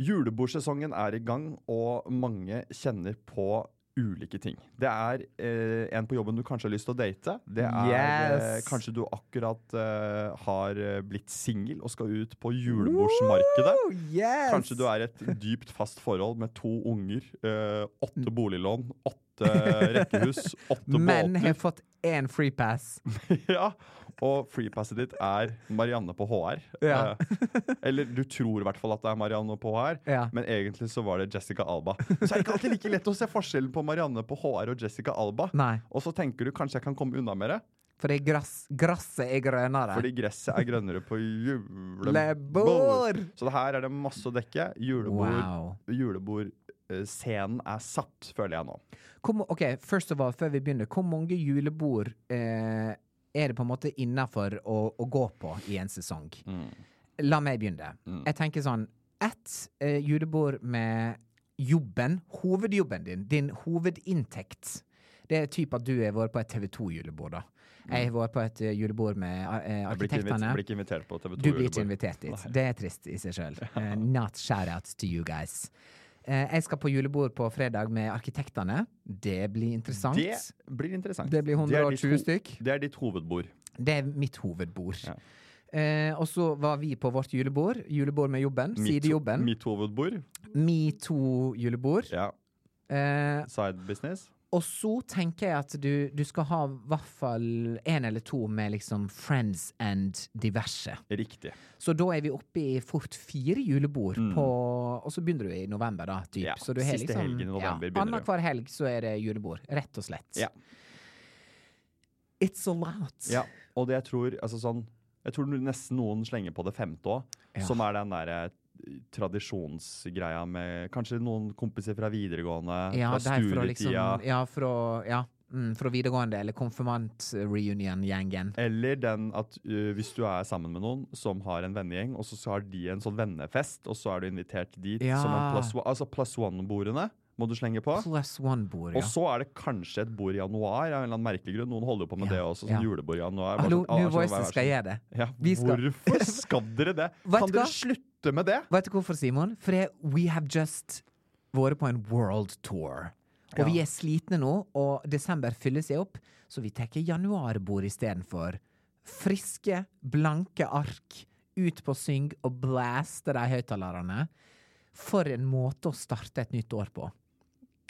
S2: Julebordsesongen er i gang, og mange kjenner på ulike ting. Det er eh, en på jobben du kanskje har lyst til å date. Det er eh,
S1: Yes.
S2: kanskje du akkurat eh, har eh, blitt singel og skal ut på julebordsmarkedet.
S1: Woo, yes!
S2: Kanskje du er i et dypt fast forhold med to unger, eh, åtte boliglån, åtte eh, rekkehus, åtte
S1: Mm. [laughs] Men har
S2: båter.
S1: fått én free pass.
S2: [laughs] ja. Og freepasset ditt er Marianne på HR.
S1: Ja.
S2: Eh, eller du tror i hvert fall at det er Marianne på HR,
S1: Ja.
S2: men egentlig så var det Jessica Alba. Så er det ikke alltid like lett å se forskjellen på Marianne på HR og Jessica Alba.
S1: Nei.
S2: Og så tenker du kanskje jeg kan komme unna med det,
S1: For det er grass, gresset er grønnere.
S2: fordi gresset er grønnere på julebord.
S1: Lebord.
S2: Så det her er det masse å dekke. Julebord,
S1: Wow.
S2: julebord eh, Scenen er satt, føler jeg nå.
S1: Hvor, ma- ok, first of all, før vi begynner, hvor mange julebord eh, er det på en måte innafor å, å gå på i en sesong?
S2: Mm.
S1: La meg begynne. Jeg tenker sånn Ett eh, julebord med jobben, hovedjobben din, din hovedinntekt. Det er typ at du har vært på et TV 2-julebord, da. Jeg har vært på et eh, julebord med eh,
S2: Mm. Jeg blir ikke, invit
S1: arkitektene.
S2: blir ikke invitert på TV 2
S1: Du blir ikke invitert dit. Det er trist i seg
S2: [laughs]
S1: sjøl. not shout out to you guys. Eh, jeg skal på julebord på fredag med arkitektene. Det blir interessant.
S2: Det blir interessant.
S1: Det blir
S2: er
S1: 120
S2: ditt ho-
S1: stykk.
S2: Det er ditt hovedbord.
S1: Det er mitt hovedbord. Eh, og så var vi på vårt julebord. Julebord med jobben.
S2: Mitt-
S1: Sidejobben.
S2: Mitt hovedbord.
S1: Metoo-julebord.
S2: Ja.
S1: Eh,
S2: Side business.
S1: og så tenker jeg at du, du skal ha i hvert fall én eller to med liksom friends and diverse.
S2: Riktig.
S1: Så da er vi oppe i fort fire julebord på Og så begynner du i november, da. Typ.
S2: Mm. Ja,
S1: så du har
S2: siste helgen i november begynner du.
S1: ja, Annenhver helg så er det julebord, rett og slett.
S2: Ja.
S1: It's allowed.
S2: Ja. Og det jeg tror altså sånn, Jeg tror nesten noen slenger på det femte òg,
S1: Ja.
S2: som er den derre eh, tradisjonsgreia med kanskje noen kompiser fra videregående,
S1: Ja,
S2: fra
S1: der fra
S2: studietida.
S1: liksom Ja, fra, ja, mm, fra videregående, eller konfirmant-reunion-gjengen.
S2: Eller den at ø, hvis du er sammen med noen som har en vennegjeng, og så så har de en sånn vennefest, og så er du invitert dit
S1: Ja.
S2: som en plus, one- altså plus one-bordene må du slenge på.
S1: Plus one-bord,
S2: Og
S1: ja.
S2: så er det kanskje et bord i januar. av en eller annen merkelig grunn. Noen holder jo på med
S1: Ja,
S2: det også. Sånn
S1: ja.
S2: julebord i januar. bare
S1: Hallo,
S2: sånn, ah,
S1: New
S2: vær så god, vær
S1: Voices
S2: så
S1: skal
S2: god.
S1: gjøre det.
S2: Ja,
S1: Vi skal- [laughs]
S2: Hvorfor skal dere det?
S1: Vet
S2: Kan
S1: du hva?
S2: dere slutte med det?
S1: Vet du hvorfor, Simon? For det, we have just vært på en world tour. Og vi er slitne nå, og desember fyller seg opp, så vi tar januarbord istedenfor. Friske, blanke ark ut på syng og blaste de høyttalerne. For en måte å starte et nytt år på.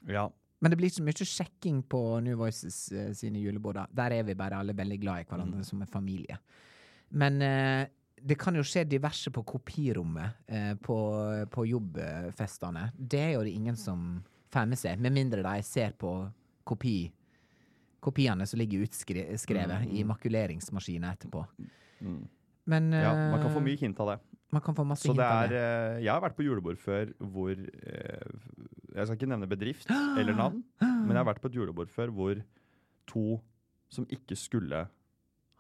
S2: Ja.
S1: Men det blir ikke så mye sjekking på New Voices eh, sine julebord. da. Der er vi bare alle veldig glad i
S2: Mm.
S1: hverandre som en familie. Men eh, det kan jo skje diverse på kopirommet eh, på, på jobbfestene. Det er jo det ingen som får med seg, med mindre de ser på kopi. Kopiene som ligger utskrevet
S2: Mm.
S1: i makuleringsmaskiner etterpå. Men
S2: ja. Man kan
S1: eh,
S2: få mye hint av det.
S1: man kan få masse
S2: Så
S1: hint
S2: det
S1: av
S2: er
S1: det.
S2: eh, Jeg har vært på julebord før hvor eh, Jeg skal ikke nevne
S1: [gasps]
S2: bedrift eller navn, men jeg har vært på et julebord før hvor to som ikke skulle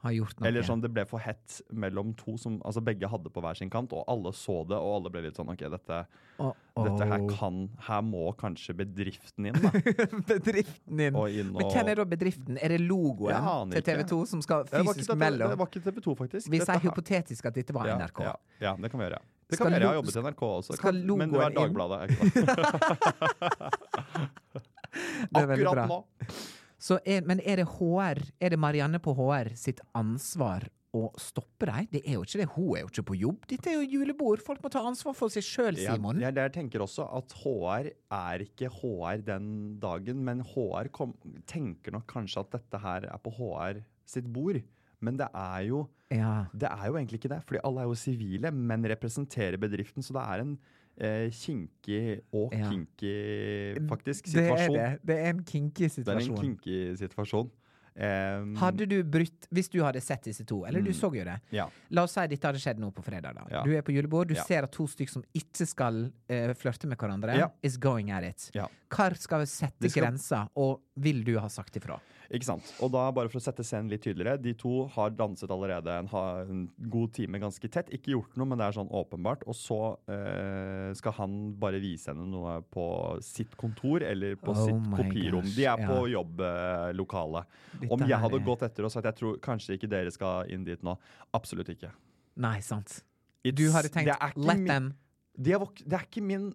S1: Har gjort noe.
S2: Eller sånn det ble for hett mellom to som altså begge hadde på hver sin kant, og alle så det, og alle ble litt sånn OK, dette,
S1: Å,
S2: dette her
S1: å.
S2: kan Her må kanskje bedriften inn, da.
S1: [laughs] bedriften din.
S2: Og inn
S1: Men
S2: og-
S1: hvem er da bedriften? Er det
S2: Jeg
S1: logoen
S2: aner
S1: til
S2: ikke.
S1: TV 2 som skal
S2: Det var ikke
S1: fysisk
S2: dette-
S1: mellom?
S2: Det var ikke TV 2, faktisk.
S1: Vi
S2: Dette
S1: sier
S2: her-
S1: hypotetisk at dette var
S2: ja,
S1: NRK.
S2: Ja, ja, det kan vi gjøre. ja. Det
S1: Skal
S2: kan vi gjøre. Jeg har
S1: lo-
S2: jobbet i NRK også.
S1: skal
S2: Kan, men det var
S1: logoen inn?
S2: Dagbladet. er
S1: [laughs]
S2: ikke sant?
S1: Det er veldig
S2: Akkurat
S1: bra.
S2: nå.
S1: Så er, men er det HR, er det Marianne på HR sitt ansvar å stoppe dem. Det er jo ikke det. Hun er jo ikke på jobb. Dette er jo julebord. Folk må ta ansvar for seg sjøl, Simon.
S2: Jeg, jeg, jeg tenker også at HR er ikke HR den dagen, men HR kom, tenker nok kanskje at dette her er på HR sitt bord. Men det er jo
S1: Ja.
S2: det er jo egentlig ikke det, fordi alle er jo sivile, men representerer bedriften. Så det er en eh, kinkig og
S1: Ja.
S2: kinky faktisk
S1: Det er
S2: situasjon.
S1: det. Det er en kinky
S2: Det er en
S1: situasjon.
S2: kinky situasjon. Ehm, Em,
S1: Hadde du brutt Hvis du hadde sett disse to,
S2: Mm.
S1: eller du så jo det
S2: Ja.
S1: La oss si dette hadde skjedd nå på fredag. da
S2: Ja.
S1: Du er på julebord, du
S2: Ja.
S1: ser at to stykker som ikke skal eh, flørte med hverandre,
S2: Ja.
S1: is going at it.
S2: Ja.
S1: Hvor skal vi sette
S2: De skal-
S1: grensa, og vil du ha sagt ifra?
S2: Ikke sant? Og da, bare for å sette scenen litt tydeligere, de to har danset allerede en, ha, en god time ganske tett. Ikke gjort noe, men det er sånn åpenbart. Og så eh, skal han bare vise henne noe på sitt kontor eller på
S1: Oh
S2: sitt
S1: my
S2: kopirom.
S1: gosh,
S2: De er på
S1: ja.
S2: jobblokalet.
S1: Dette
S2: Om jeg hadde
S1: her er-
S2: gått etter og sagt jeg tror kanskje ikke dere skal inn dit nå. Absolutt ikke.
S1: Nei, sant?
S2: It's-
S1: Du hadde tenkt
S2: det er ikke
S1: let
S2: min-
S1: them
S2: Det er, vok- det er ikke min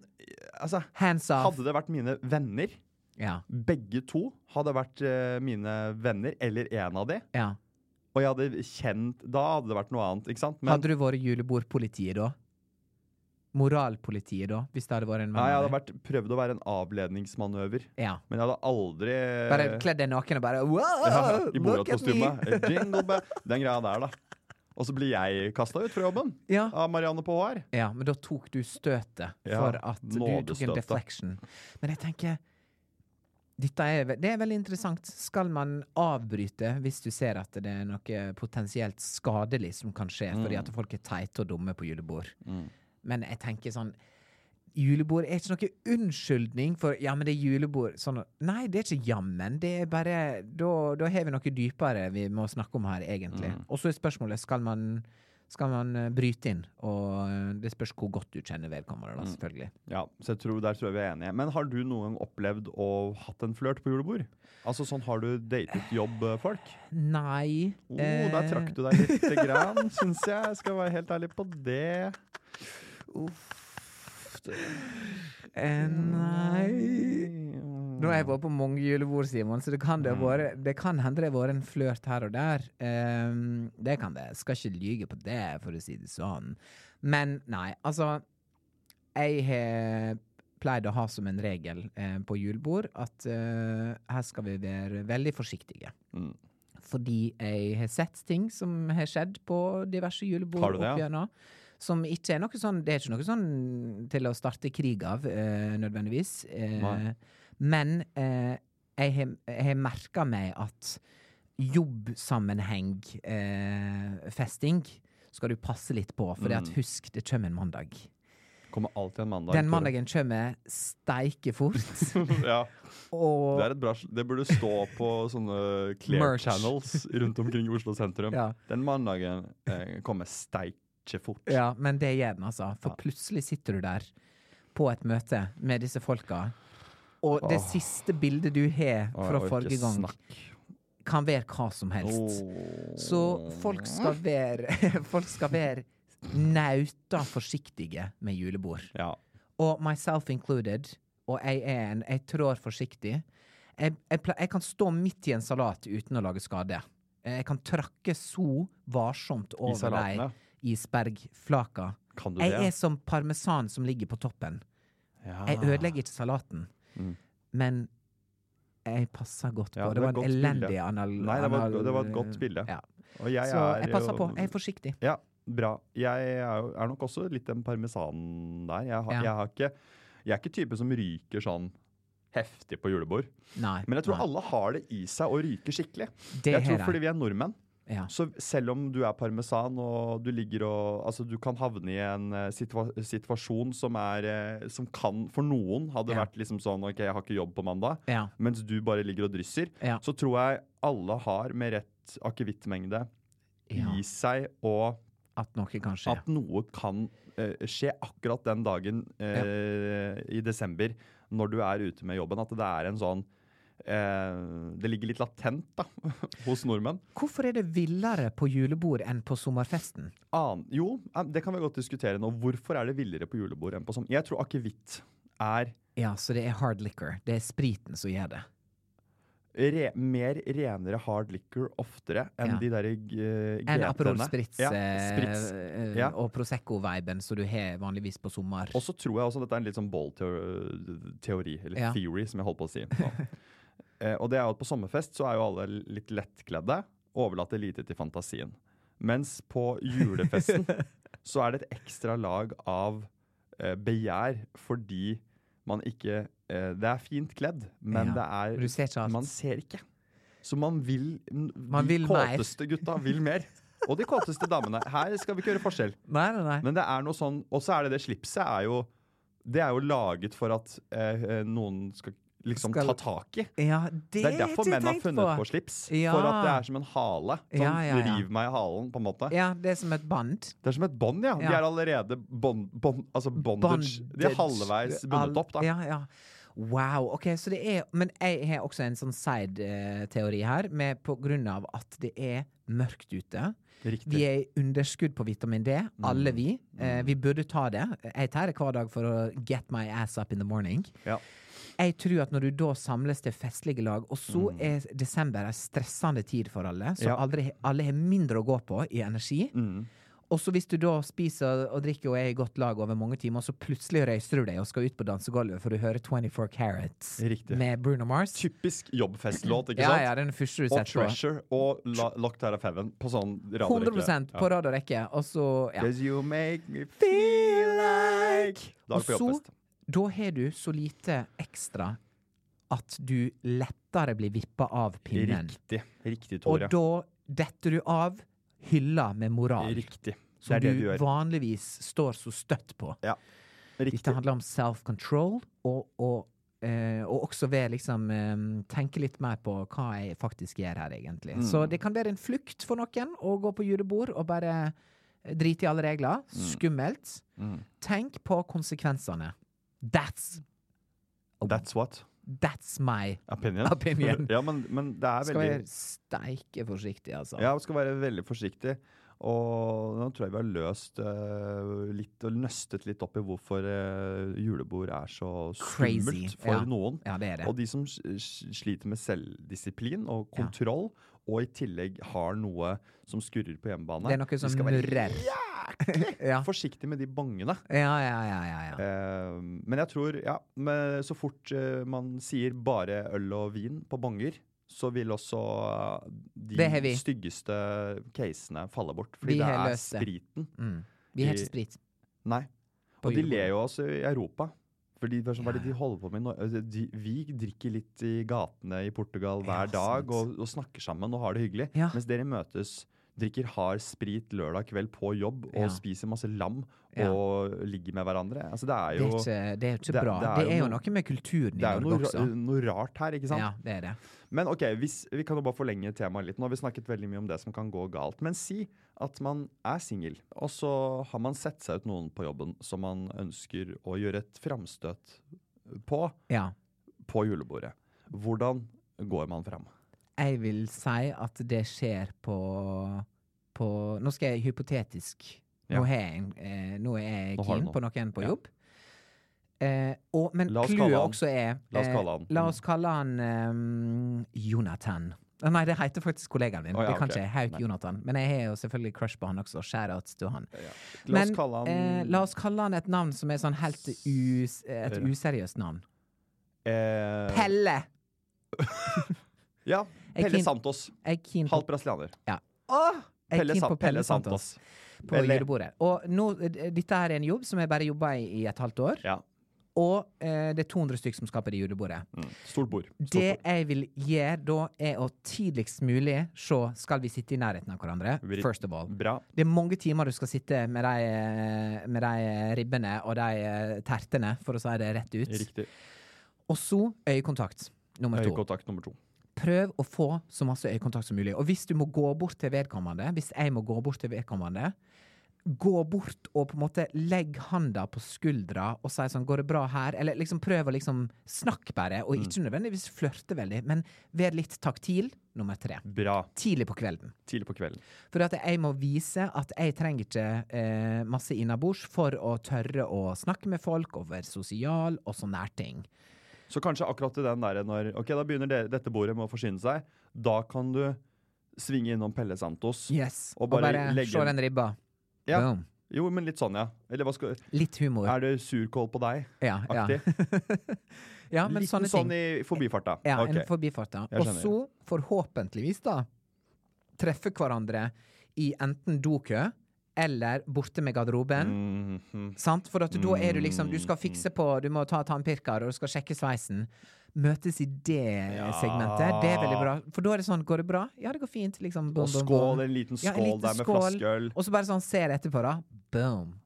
S2: Altså,
S1: hands off.
S2: hadde det vært mine venner,
S1: Ja.
S2: begge to hadde vært eh, mine venner, eller en av de,
S1: ja.
S2: Og jeg hadde kjent Da hadde det vært noe annet, ikke sant?
S1: Hadde du vært julebordpolitiet da? Moralpolitiet da, hvis det hadde vært en
S2: ja, jeg hadde
S1: venn?
S2: vært, prøvd å være en avledningsmanøver.
S1: Ja,
S2: Men jeg hadde aldri
S1: Bare
S2: Eh.
S1: kledd deg naken og bare wow,
S2: [laughs] ja, I
S1: look at me!
S2: Borat-kostyme.
S1: [laughs]
S2: Jingle bell. Den greia der, da. Og så blir jeg kasta ut fra jobben
S1: Ja.
S2: av Marianne på HR.
S1: Ja, men da tok du støtet
S2: Ja,
S1: for at du tok en
S2: nådestøtet.
S1: deflection. Men jeg tenker dette er, ve- Det er veldig interessant. Skal man avbryte hvis du ser at det er noe potensielt skadelig som kan skje fordi at folk er teite og dumme på julebord? Men jeg tenker sånn Julebord er ikke noe unnskyldning for Ja, men det er julebord. Sånn, nei, det er ikke jammen. Det er bare Da, da har vi noe dypere vi må snakke om her, egentlig.
S2: Mm.
S1: Og så er spørsmålet skal man, skal man eh, bryte inn. Og eh, det spørs hvor godt du kjenner vedkommende,
S2: Mm.
S1: da, selvfølgelig.
S2: Ja, så jeg tror, Der tror jeg vi er enige. Men har du noen gang opplevd å hatt en flørt på julebord? Altså sånn, Har du datet jobbfolk?
S1: Nei
S2: Oh, der trakk du
S1: Eh.
S2: deg lite grann, syns jeg. Skal være helt ærlig på det.
S1: Eh, nei Nå
S2: Mm.
S1: har jeg vært på mange julebord, Simon, så det kan, det ha vært- det kan hende det har vært en flørt her og der. Ehm, det kan det. Skal ikke lyge på det, for å si det sånn. Men nei, altså Jeg har pleid å ha som en regel eh, på julebord at eh, her skal vi være veldig forsiktige.
S2: Mm.
S1: Fordi jeg har sett ting som har skjedd på diverse julebord
S2: Har du det,
S1: opp
S2: ja?
S1: gjennom. Som ikke er noe sånn Det er ikke noe sånn til å starte krig av, eh, nødvendigvis. Eh,
S2: Nei.
S1: men eh, jeg har- jeg har merka meg at jobbsammenheng, eh, festing, skal du passe litt på. For
S2: Mm.
S1: at husk, det kommer en mandag.
S2: Kommer alltid en mandag.
S1: Den
S2: Tore.
S1: mandagen kommer steike fort.
S2: [laughs] ja.
S1: og
S2: Det, er et bra, sl- det burde stå på sånne clear
S1: Merch.
S2: channels rundt omkring i Oslo sentrum.
S1: Ja.
S2: Den mandagen eh, kommer steike fort.
S1: Ja, men det gjør den, altså. For plutselig sitter du der på et møte med disse folka, og det siste bildet du har
S2: Å, jeg
S1: fra
S2: orker
S1: forrige gang,
S2: snakk. Oh.
S1: kan være hva som helst. Så folk skal være [laughs] Folk skal være nauta forsiktige med julebord.
S2: Ja.
S1: Og myself included. Og jeg er en Jeg trår forsiktig. Jeg, jeg, ple- jeg kan stå midt i en salat uten å lage skade. Eh, Jeg kan trakke så varsomt over
S2: salaten,
S1: de isbergflaka.
S2: Kan du
S1: Jeg
S2: det?
S1: er som parmesan som ligger på toppen.
S2: Ja.
S1: Jeg ødelegger ikke salaten, men jeg passer godt på.
S2: Mm. Ja,
S1: det,
S2: det var
S1: var en
S2: et godt bilde.
S1: elendig anal...
S2: Nei, det var,
S1: anal-
S2: det var et godt bilde.
S1: Ja.
S2: Og jeg
S1: Så
S2: er
S1: jeg passer
S2: jo-
S1: på. Jeg er forsiktig.
S2: Ja, bra. Jeg er, jo- er nok også litt den parmesanen der. Jeg, har,
S1: Ja.
S2: jeg, har ikke, jeg er ikke type som ryker sånn heftig på julebord.
S1: Nei.
S2: Men jeg tror
S1: nei.
S2: alle har det i seg å ryke skikkelig.
S1: Det
S2: jeg
S1: har
S2: tror
S1: de.
S2: fordi vi er nordmenn.
S1: Ja.
S2: Så selv om du er parmesan og du ligger og Altså, du kan havne i en eh, situa situasjon som er eh, Som kan, for noen, hadde
S1: Ja.
S2: vært liksom sånn OK, jeg har ikke jobb på mandag.
S1: Ja.
S2: Mens du bare ligger og drysser.
S1: Ja.
S2: Så tror jeg alle har, med rett akevittmengde,
S1: Ja.
S2: i seg og
S1: At noe kan skje.
S2: at noe kan eh, skje akkurat den dagen eh, i desember når du er ute med jobben. At det er en sånn eh, Det ligger litt latent da, [laughs] hos nordmenn.
S1: Hvorfor er det villere på julebord enn på sommerfesten?
S2: An jo, eh, det kan vi godt diskutere nå. Hvorfor er det villere på julebord enn på sånn? Jeg tror akevitt er
S1: Ja, så det er hard liquor. Det er spriten som gjør det.
S2: re, mer renere hard liquor oftere enn
S1: Ja.
S2: de derre uh,
S1: Enn Aperol Spritz,
S2: Ja,
S1: eh,
S2: spritz.
S1: eh,
S2: Ja.
S1: og Prosecco-viben som du har vanligvis på sommer.
S2: Og så tror jeg også dette er en litt sånn ball-teori, eller
S1: Ja.
S2: theory, som jeg holdt på å
S1: [laughs]
S2: si. nå. eh, og det er jo at på sommerfest så er jo alle litt lettkledde, overlater lite til fantasien. Mens på
S1: [laughs]
S2: julefesten så er det et ekstra lag av eh, begjær fordi man ikke eh, Det er fint kledd, men
S1: Ja,
S2: det
S1: men
S2: er
S1: du ser ikke alt.
S2: Man ser ikke. Så man vil
S1: Man
S2: De
S1: vil mer.
S2: kåteste gutta vil
S1: [laughs]
S2: mer. Og de kåteste damene. Her skal vi ikke gjøre forskjell.
S1: Nei, nei, nei.
S2: Men det er noe sånn Og så er det det slipset er jo Det er jo laget for at eh, eh, noen skal liksom
S1: Skal-
S2: ta tak i.
S1: ja, det,
S2: Det er derfor
S1: ikke
S2: menn har
S1: tenkt
S2: funnet på, slips.
S1: Ja.
S2: For at det er som en hale. Sånn
S1: Ja, ja, ja.
S2: riv meg i halen, på en måte.
S1: Ja, det er som et bånd.
S2: Det er som et bånd, ja. De
S1: Ja.
S2: er allerede bond, bond, altså bondage. De er halvveis bundet
S1: Al-
S2: opp, da.
S1: Ja, ja. Wow. ok, så det er Men jeg har også en sånn side-teori her, med, på grunn av at det er mørkt ute. Vi
S2: Riktig. Mm.
S1: er i underskudd på vitamin D, alle vi. Eh, vi burde ta det. Jeg tar det hver dag for å get my ass up in the morning.
S2: Ja.
S1: Jeg tror at når du da samles til festlige lag, og så er desember en stressende tid for alle, så
S2: Mm. Ja. Mm.
S1: aldri, alle har mindre å gå på i energi. Og så hvis du da spiser og drikker og er i godt lag over mange timer, så plutselig røyser du deg og skal ut på dansegulvet for du hører 24 Carats
S2: Riktig.
S1: med Bruno Mars.
S2: Typisk jobbfestlåt, ikke
S1: ja,
S2: sant?
S1: ja, den første du
S2: og
S1: setter på.
S2: Treasure og La Locked Out of Heaven på sånn radiorekke.
S1: 100 på rad og rekke. Og så ja.
S2: Cause you make me feel like Dag
S1: Og
S2: på
S1: så,
S2: jobbfest.
S1: da har du så lite ekstra at du lettere blir vippa av pinnen.
S2: Riktig. Riktig,
S1: Og
S2: Tore.
S1: da detter du av hylla med moral,
S2: Riktig. Det
S1: som
S2: er det
S1: du
S2: du gjør.
S1: vanligvis står så støtt på.
S2: Ja.
S1: Dette
S2: Riktig.
S1: handler om self-control, og, og, eh, og også ved liksom eh, tenke litt mer på hva jeg faktisk gjør her,
S2: Mm.
S1: egentlig. Så det kan være en flukt for noen å gå på julebord og bare eh, drite i alle regler.
S2: Mm.
S1: Skummelt. Tenk på konsekvensene. That's
S2: That's what?
S1: That's my
S2: Opinion.
S1: Opinion.
S2: ja, men, men det er
S1: Skal være
S2: veldig
S1: steike forsiktig, altså.
S2: Ja, skal være veldig forsiktig. Og nå tror jeg vi har løst eh, litt og nøstet litt opp i hvorfor eh, julebord er så skummelt
S1: Crazy.
S2: for
S1: Ja.
S2: noen.
S1: Ja, det er det.
S2: Og de som s- s- sliter med selvdisiplin og kontroll, og i tillegg har noe som skurrer på hjemmebane.
S1: Det er noe
S2: de
S1: som
S2: skal være
S1: murrer. [laughs] ja.
S2: forsiktig med de bongene.
S1: Ja, ja, ja, ja, ja.
S2: Eh, men jeg tror, ja men Så fort eh, man sier bare øl og vin på bonger, så vil også eh,
S1: Det har vi.
S2: de styggeste casene falle bort.
S1: Vi
S2: Fordi det
S1: har
S2: er
S1: løst det.
S2: spriten.
S1: Mm. Vi har
S2: i-
S1: ikke sprit.
S2: Nei.
S1: På
S2: Og de
S1: julebordet.
S2: ler jo også i Europa. Fordi det er sånn, Hva er det de holder på med i Norge? De, vi drikker litt i gatene i Portugal hver dag og, og snakker sammen og har det hyggelig.
S1: Ja.
S2: Mens dere møtes, drikker hard sprit lørdag kveld på jobb og
S1: Ja.
S2: spiser masse lam
S1: Ja.
S2: og ligger med hverandre. Altså Det er
S1: Det
S2: jo
S1: er ikke, det er jo ikke
S2: det-
S1: bra.
S2: det er
S1: Det er
S2: jo noe-
S1: jo noe med kulturen i
S2: det er jo
S1: Norge
S2: noe,
S1: også.
S2: ra- noe rart her, ikke sant?
S1: Ja, det er det.
S2: Men ok, hvis, vi kan jo bare forlenge temaet litt. Nå har vi snakket veldig mye om det som kan gå galt. Men si at man er singel, og så har man sett seg ut noen på jobben som man ønsker å gjøre et framstøt på
S1: Ja.
S2: på julebordet. Hvordan går man fram?
S1: Jeg vil si at det skjer på, på Nå skal jeg hypotetisk
S2: Ja.
S1: Nå, har jeg, en- eh, nå er jeg
S2: Nå har du
S1: keen
S2: noe.
S1: på noen på
S2: Ja.
S1: jobb. Eh, og, men
S2: La oss kalle
S1: clouet
S2: han-
S1: også er
S2: La oss
S1: eh,
S2: kalle han.
S1: La oss kalle han ehm, Jonathan. Ah, Nei, det heter faktisk kollegaen min.
S2: Å, ja,
S1: det kan
S2: ok.
S1: ikke jeg. Hauk
S2: Nei.
S1: Jonathan. Men jeg har jo selvfølgelig crush på han også. Shoutouts til han.
S2: La oss
S1: Men,
S2: kalle han
S1: eh, la oss kalle han et navn som er sånn helt us et
S2: Øre.
S1: useriøst navn.
S2: eh,
S1: Pelle!
S2: Ja,
S1: Jeg
S2: Pelle
S1: keen-
S2: Santos.
S1: Jeg er keen på
S2: Halvt brasilianer.
S1: Ja. Jeg er
S2: Pelle,
S1: keen
S2: San
S1: på Pelle
S2: Pelle Santos.
S1: på
S2: Pelle-
S1: julebordet. Og nå, eh, dette her er en jobb som jeg bare jobba i i et halvt år.
S2: Ja.
S1: Og eh, det er 200 stykker som skal på det julebordet.
S2: Mm. Stort bord. Stort
S1: Det
S2: bord.
S1: jeg vil gjøre da, er å tidligst mulig se skal vi sitte i nærheten av hverandre.
S2: Vri-
S1: First of all.
S2: Bra.
S1: Det er mange timer du skal sitte med de, eh, med de eh, ribbene og de eh, tertene, for å si det rett ut.
S2: Riktig.
S1: Og så øyekontakt nummer to.
S2: Høykontakt nummer to.
S1: prøv å få så masse øyekontakt som mulig. Og hvis du må gå bort til vedkommende, hvis jeg må gå bort til vedkommende, gå bort og på en måte legg handa på skuldra og si sånn 'Går det bra her?' Eller liksom prøv å liksom snakke bare, og ikke nødvendigvis flørte veldig, men vær litt taktil, nummer tre.
S2: Bra.
S1: Tidlig på kvelden.
S2: Tidlig på kvelden.
S1: For at jeg må vise at jeg trenger ikke eh, masse innabords for å tørre å snakke med folk og være sosial og sånne her ting.
S2: Så kanskje akkurat i den der når Ok, da begynner dere- dette bordet med å forsyne seg. Da kan du svinge innom Pelle Santos.
S1: Yes.
S2: Og
S1: Og
S2: bare
S1: bare,
S2: legge-
S1: se den ribba.
S2: Ja.
S1: Boom.
S2: Jo, men litt sånn, ja. Eller hva skal
S1: Litt humor.
S2: Er det surkål på deg?
S1: ja, ja.
S2: Aktig.
S1: [laughs] ja, men
S2: Litt
S1: sånne ting.
S2: sånn i forbifarta.
S1: Ja,
S2: Ok.
S1: en forbifart, ja.
S2: Jeg
S1: Og
S2: skjønner.
S1: så, forhåpentligvis, da, treffe hverandre i enten dokø eller borte med garderoben.
S2: Mhm.
S1: Sant? For at da er du liksom Du skal
S2: Mm.
S1: fikse på, du må ta tannpirker, og du skal sjekke sveisen. Møtes i det
S2: Ja.
S1: segmentet. Det er veldig bra. For da er det sånn Går det bra? Ja, det går fint. Liksom,
S2: Og
S1: bom, bom, bom.
S2: skål, en liten skål
S1: Ja, en liten
S2: der med
S1: skål.
S2: flaskeøl.
S1: Og så bare sånn ser etterpå, da. Boom.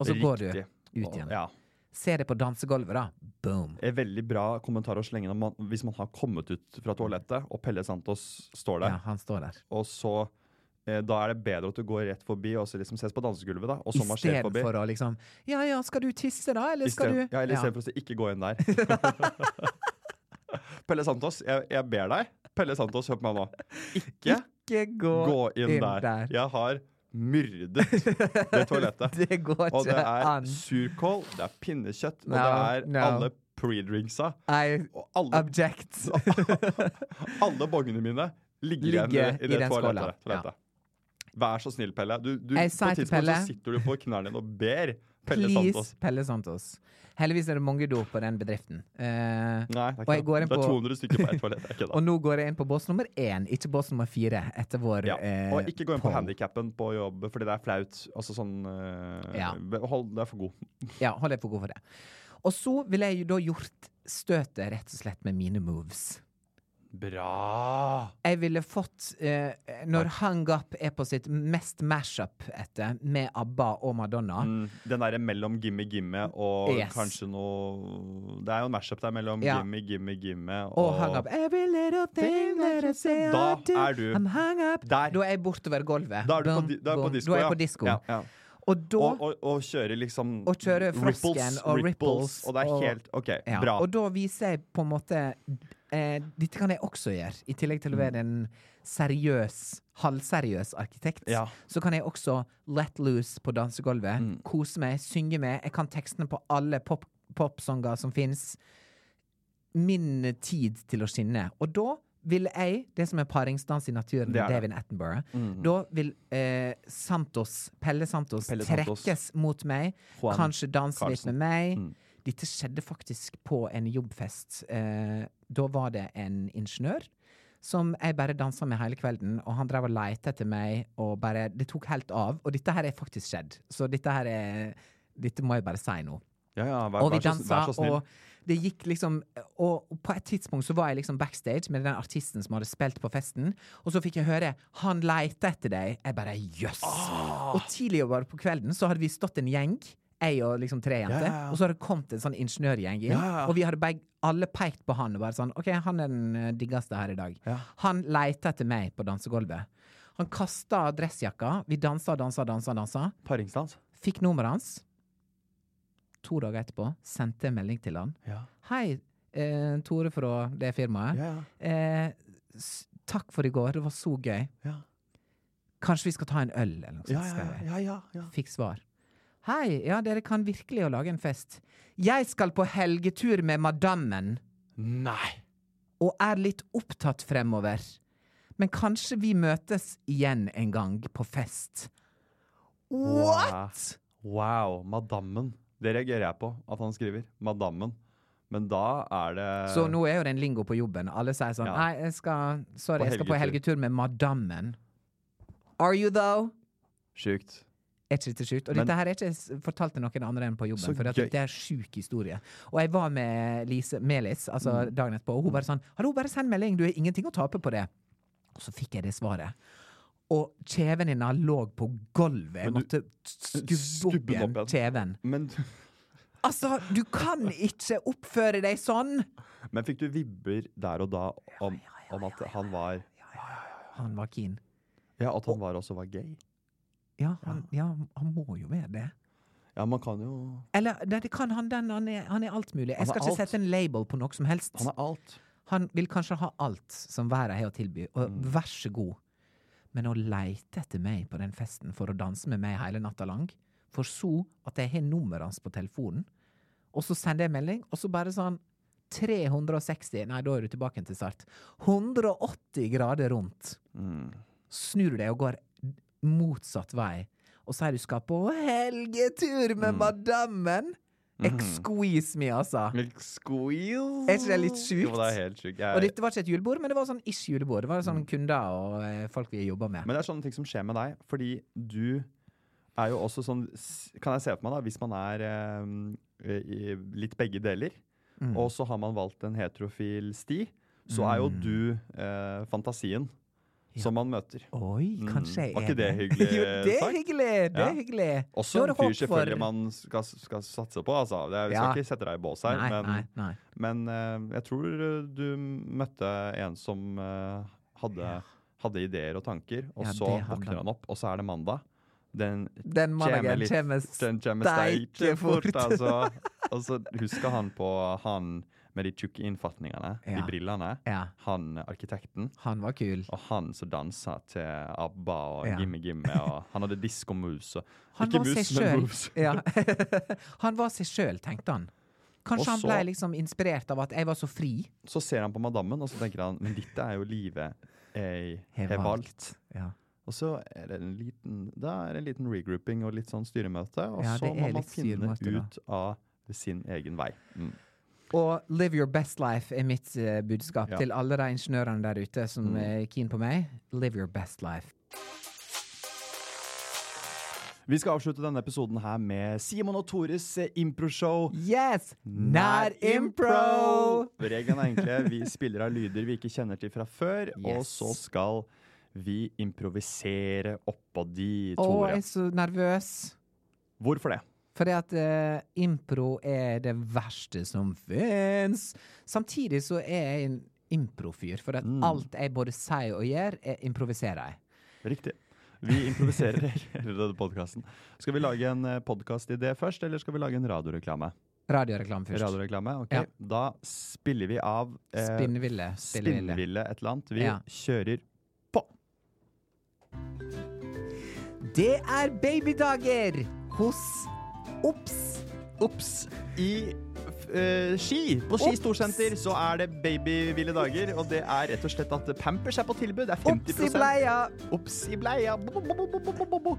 S1: Og så går du
S2: Riktig.
S1: ut igjen.
S2: Ja.
S1: Se det på dansegulvet, da. Boom.
S2: En veldig bra kommentar å slenge når man, hvis man har kommet ut fra toalettet, og Pelle Santos står der,
S1: Ja, han står der.
S2: og så eh, Da er det bedre at du går rett forbi og så liksom ses på dansegulvet, da, og så marsjerer forbi.
S1: Istedenfor å liksom Ja ja, skal du tisse, da? Eller skal
S2: Isteden-
S1: du
S2: ja, eller
S1: Ja.
S2: istedenfor å si 'ikke gå
S1: [laughs]
S2: inn der'. Pelle Santos, jeg, jeg ber deg. Pelle Santos, hør på meg nå. Ikke
S1: Ikke gå,
S2: gå inn der. Jeg har myrdet det toalettet.
S1: [laughs] Det går
S2: Og det
S1: ikke
S2: er
S1: an.
S2: surkål, det er pinnekjøtt, og
S1: No,
S2: det er
S1: no.
S2: alle pre-drinksa.
S1: I
S2: Og alle,
S1: object.
S2: [laughs] alle bongene mine ligger igjen
S1: Ligger
S2: i, i det
S1: den skåla.
S2: toalettet. toalettet. Vær så snill, Pelle. Du, du, på
S1: Jeg
S2: et
S1: sier til
S2: tidspunkt
S1: Pelle-
S2: så sitter du på knærne dine og ber Pelle Santos.
S1: Please, Pelle Santos. Heldigvis er det mange do på den bedriften. Eh,
S2: Nei, det
S1: og
S2: er,
S1: jeg
S2: ikke
S1: går
S2: det.
S1: inn
S2: det er
S1: på
S2: 200 stykker på ett toalett. Det er ikke det.
S1: [laughs] Og nå går jeg inn på bås nummer én, ikke bås nummer fire, etter vår
S2: Ja.
S1: eh,
S2: Og ikke gå inn på
S1: poll.
S2: handikappen på jobb, fordi det er flaut. Altså sånn eh,
S1: Ja.
S2: be- Hold deg for god.
S1: Ja, hold deg for god for det. Og så ville jeg jo da gjort støtet rett og slett med mine moves.
S2: Bra!
S1: Jeg ville fått eh, Når Hung Up er på sitt mest mash-up etter, med ABBA og Madonna
S2: Mm, den derre mellom gimme gimme og
S1: Yes.
S2: kanskje noe Det er jo en mashup der mellom
S1: Ja.
S2: gimme gimme gimme og,
S1: Og hung up every little thing that I say I
S2: Da
S1: do.
S2: er du-
S1: I'm hung up.
S2: Der.
S1: Da er jeg bortover gulvet.
S2: Da er du på,
S1: Boom,
S2: di- da er du på
S1: boom.
S2: disko.
S1: Da er jeg
S2: ja.
S1: på disko.
S2: Ja, ja.
S1: Og da
S2: Og, og, og kjøre liksom
S1: Og kjøre frosken og ripples
S2: Og det er
S1: og-
S2: helt OK,
S1: ja,
S2: bra.
S1: Og da viser jeg på en måte eh, Dette kan jeg også gjøre. I tillegg til å
S2: Mm.
S1: være en seriøs, halvseriøs arkitekt,
S2: Ja. Mm.
S1: så kan jeg også let loose på dansegulvet. Kose meg, synge med. Jeg kan tekstene på alle pop- popsanger som fins. Min tid til å skinne. Og da vil jeg, det som er paringsdans i naturen
S2: Det Mm. er
S1: med
S2: det.
S1: David Attenborough, da vil eh, Santos, Pelle Santos,
S2: Pelle Santos.
S1: trekkes mot meg.
S2: Juan
S1: Kanskje danse litt
S2: Carlsen. Mm.
S1: med meg. Dette skjedde faktisk på en jobbfest. Eh, da var det en ingeniør som jeg bare dansa med hele kvelden, og han drev og leita etter meg, og bare Det tok helt av. Og dette her er faktisk skjedd, så dette her er Dette må jeg bare si nå.
S2: ja, ja, vær,
S1: Og vi
S2: vær så,
S1: dansa,
S2: vær så snill.
S1: og det gikk liksom Og på et tidspunkt så var jeg liksom backstage med den artisten som hadde spilt på festen, og så fikk jeg høre 'Han leita etter deg'. Jeg bare jøss!
S2: Ah.
S1: Og tidligere bare på kvelden så hadde vi stått en gjeng, jeg og liksom tre jenter,
S2: Ja, ja, ja.
S1: og så hadde det kommet en sånn ingeniørgjeng inn,
S2: Ja, ja, ja.
S1: og vi hadde beg- alle pekt på han og bare sånn 'OK, han er den eh, diggeste her i dag'.
S2: Ja.
S1: Han leita etter meg på dansegulvet. Han kasta dressjakka, vi dansa, dansa, dansa, dansa.
S2: Paringsdans.
S1: Fikk nummeret hans. To dager etterpå sendte jeg melding til han.
S2: Ja.
S1: Hei, eh, Tore fra det firmaet.
S2: Ja, ja.
S1: Eh, s- takk for i går, det var så gøy.
S2: Ja.
S1: Kanskje vi skal ta en øl, eller noe sånt.
S2: Ja, ja,
S1: skrev jeg.
S2: ja, ja, ja.
S1: Fikk svar. Hei, ja, dere kan virkelig å lage en fest. Jeg skal på helgetur med madammen,
S2: Nei!
S1: og er litt opptatt fremover. Men kanskje vi møtes igjen en gang på fest. What?!
S2: Wow, madammen. Det reagerer jeg på at han skriver. Madammen. Men da er det
S1: Så nå er jo det en lingo på jobben. Alle sier sånn
S2: Eh. Ja.
S1: Nei, jeg skal, sorry,
S2: På
S1: jeg skal på
S2: helgetur."
S1: helgetur med madammen. Are you though?
S2: sjukt.
S1: Er ikke dette sjukt? Og
S2: Men-
S1: dette her er ikke s- fortalt til noen andre enn på
S2: Så
S1: jobben, for
S2: gøy.
S1: det er sjuk historie. Og jeg var med Lise Melis altså
S2: Mm.
S1: dagen etterpå, og hun bare sånn Hallo, bare send melding, du har ingenting å tape på det. Og så fikk jeg det svaret. Og kjeven din lå på gulvet. Jeg
S2: Men
S1: måtte
S2: du-
S1: skubbe opp
S2: den
S1: igjen
S2: opp
S1: kjeven.
S2: Men, [laughs]
S1: Altså, du kan ikke oppføre deg sånn!
S2: men fikk du vibber der og da om, om at han var
S1: Han var keen.
S2: Ja, at han var også var gay?
S1: Ja, han, ja, han må jo være det.
S2: Ja, man kan jo
S1: Eller nei, det kan han, den, han, er, han er alt mulig.
S2: Han
S1: Jeg skal
S2: er
S1: ikke
S2: alt.
S1: sette en label på noe som helst.
S2: Han er alt.
S1: Han vil kanskje ha alt som verden har å tilby, og
S2: Mm.
S1: vær så god. Men å leite etter meg på den festen for å danse med meg hele natta lang, for så at jeg har nummeret hans på telefonen, og så sender jeg melding, og så bare sånn 360 Nei, da er du tilbake til start. 180 grader rundt.
S2: Mm.
S1: Snur du deg og går motsatt vei, og sier du skal på helgetur
S2: Mm.
S1: med madammen.
S2: Mhm.
S1: Excuse me, altså.
S2: Squeal.
S1: Er ikke det litt sjukt?
S2: Jo, det er helt sjukt. Jeg-
S1: Og dette var ikke et julebord, men det var sånn ish-julebord. Det var sånn kunder og eh, folk vi jobba med.
S2: Mm. Men det er sånne ting som skjer med deg, fordi du er jo også sånn s- Kan jeg se for meg, da, hvis man er eh, i litt begge deler,
S1: Mm.
S2: og så har man valgt en heterofil sti, så er
S1: Mm.
S2: jo du eh, fantasien som man møter.
S1: Oi, kanskje
S2: Mm.
S1: jeg
S2: Var ikke
S1: er
S2: det hyggelig
S1: [laughs] jo, det er
S2: sagt?
S1: hyggelig! Det er
S2: Ja.
S1: hyggelig.
S2: Også
S1: Da er
S2: en
S1: det
S2: fyr
S1: håp for-
S2: selvfølgelig man skal, skal satse på. Altså. Det er, vi skal
S1: Ja.
S2: ikke sette deg i bås her,
S1: Nei,
S2: men,
S1: nei, nei.
S2: men eh, jeg tror eh, du møtte en som eh, hadde, hadde ideer og tanker, og
S1: Ja,
S2: så
S1: det hadde han.
S2: våkner han opp, og så er det mandag. Den Kjeme
S1: Den mandagen
S2: litt-
S1: kommer
S2: den kjeme steike fort,
S1: fort. [laughs]
S2: altså. Og så husker han på han med de tjukke innfatningene, de
S1: Ja.
S2: brillene.
S1: Ja.
S2: Han arkitekten.
S1: Han var kul.
S2: Og han som dansa til ABBA og
S1: Ja.
S2: Gimme Gimme. Og han hadde diskomoves. og-
S1: [laughs] Han
S2: Ikke
S1: var seg
S2: mus, men
S1: sjøl.
S2: moves.
S1: Ja. [laughs] han var seg sjøl, tenkte han. Kanskje
S2: Og
S1: han
S2: så-
S1: ble liksom inspirert av at jeg var så fri.
S2: Så ser han på madammen, og så tenker han men dette er jo livet jeg
S1: Har
S2: har
S1: valgt."
S2: valgt.
S1: Ja.
S2: Og så er det en liten, da er det en liten regrouping og litt sånn styremøte. Og
S1: Ja,
S2: så
S1: det er
S2: må man
S1: litt
S2: finne
S1: styremøte, da.
S2: ut av sin egen vei. Mm.
S1: Og live your best life er mitt eh, budskap
S2: Ja.
S1: til alle de ingeniørene der ute som eh, er keen på meg. Live your best life.
S2: Vi skal avslutte denne episoden her med Simon og Tores eh, improshow.
S1: Yes! Nær impro!
S2: Regelen er egentlig vi spiller av lyder vi ikke kjenner til fra før, og
S1: Yes.
S2: så skal vi improvisere oppå de,
S1: Å,
S2: Tore.
S1: jeg er så nervøs.
S2: Hvorfor det?
S1: Fordi at eh, impro er det verste som fins. Samtidig så er jeg en improfyr, for at alt jeg både sier og gjør, er improviserer jeg.
S2: Riktig. Vi
S1: [laughs]
S2: improviserer hele denne podkasten. Skal vi lage en podkast-idé først, eller skal vi lage en radioreklame?
S1: Radioreklame først.
S2: Radioreklame, ok.
S1: Ja.
S2: Da spiller vi av eh,
S1: Spinnville. Spinnville.
S2: Spinnville et eller annet. Vi
S1: Ja.
S2: kjører på.
S1: Det er babydager hos OBS.
S2: Ops! I eh, Ski, på Ski
S1: Ops!
S2: Storsenter, så er det babyville dager. Og det er rett og slett at Pampers er på tilbud. Det er 50
S1: OBS i bleia!
S2: Ops i bleia. Bo, bo, bo, bo, bo, bo, bo, bo.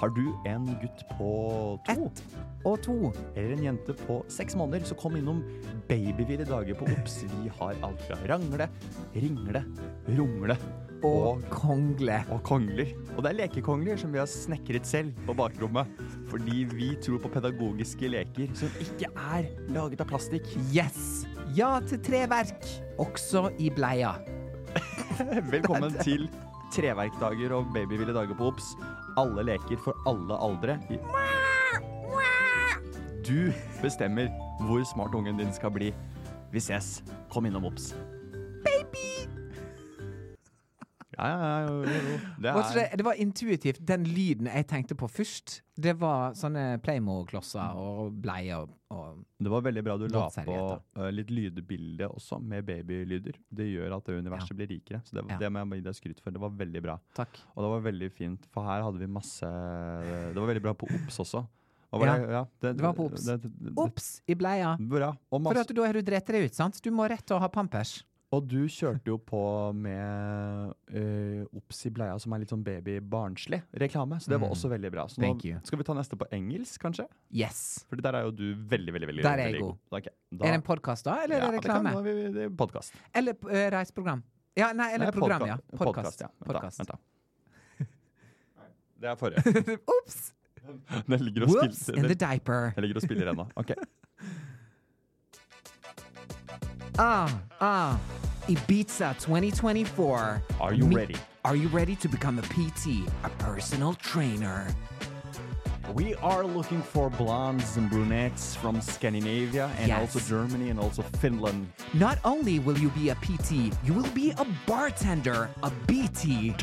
S2: Har du en gutt på to
S1: Ett og to.
S2: eller en jente på seks måneder, så kom innom babyville dager på Ops. Vi har alt fra rangle, ringle, rungle
S1: Og kongle.
S2: og kongler. Og det er lekekongler som vi har snekret selv på bakrommet. Fordi vi tror på pedagogiske leker som ikke er laget av plastikk.
S1: Yes! Ja til treverk, også i bleia.
S2: Velkommen til treverkdager og babyville dager på OBS. Alle leker for alle aldre. I- Du bestemmer hvor smart ungen din skal bli. Vi ses. Kom innom OBS. Baby! Ja, ja, ja. Jo, jo, jo. Det
S1: Var ikke
S2: er
S1: det, det var intuitivt. Den lyden jeg tenkte på først, det var sånne Playmo-klosser og bleier og, og
S2: Det var veldig bra du la på
S1: Våtservietter.
S2: eh, litt lydbilde også, med babylyder. Det gjør at det universet blir rikere. Så det,
S1: Ja.
S2: det må jeg gi deg skryt for. Det var veldig bra.
S1: Takk.
S2: Og det var veldig fint, for her hadde vi masse eh, Det var veldig bra på OBS også. Hva var
S1: Ja.
S2: det?
S1: Det var på OBS.
S2: det- det- det-
S1: Ops! I bleia.
S2: Bra. Og,
S1: For
S2: masse,
S1: at da har du drept deg ut, sant? Du må rett til å ha pampers.
S2: og du kjørte jo på med eh, OBS i bleia, som er litt sånn baby-barnslig reklame. Så det var også veldig bra. Så
S1: Mm. Thank you.
S2: nå skal vi ta neste på engelsk, kanskje?
S1: Yes!
S2: For der er jo du veldig, veldig veldig,
S1: Der er jeg
S2: veldig
S1: god.
S2: Ok, da-
S1: Er det en podkast, da? Eller
S2: Ja,
S1: er det
S2: det kan
S1: reklame?
S2: være vi- det er podkast.
S1: Eller eh, reiseprogram? Ja, nei, eller
S2: Nei,
S1: program,
S2: podka-
S1: ja.
S2: Podcast,
S1: Podkast.
S2: ja. Vent da,
S1: Podcast.
S2: vent da. Det er forrige.
S1: Ops!
S2: [laughs] Den ligger og
S1: Whoops! In
S2: spiller.
S1: the diaper.
S2: Den ligger og spiller ennå. Ok.
S1: Ah, ah. Ibiza 2024.
S2: Are you ready?
S1: Are you ready to become a PT, a personal trainer?
S2: [laughs] We are looking for blondes and brunettes from Scandinavia and
S1: Yes.
S2: also Germany and also Finland.
S1: Not only will you be a PT, you will be a bartender, a BT.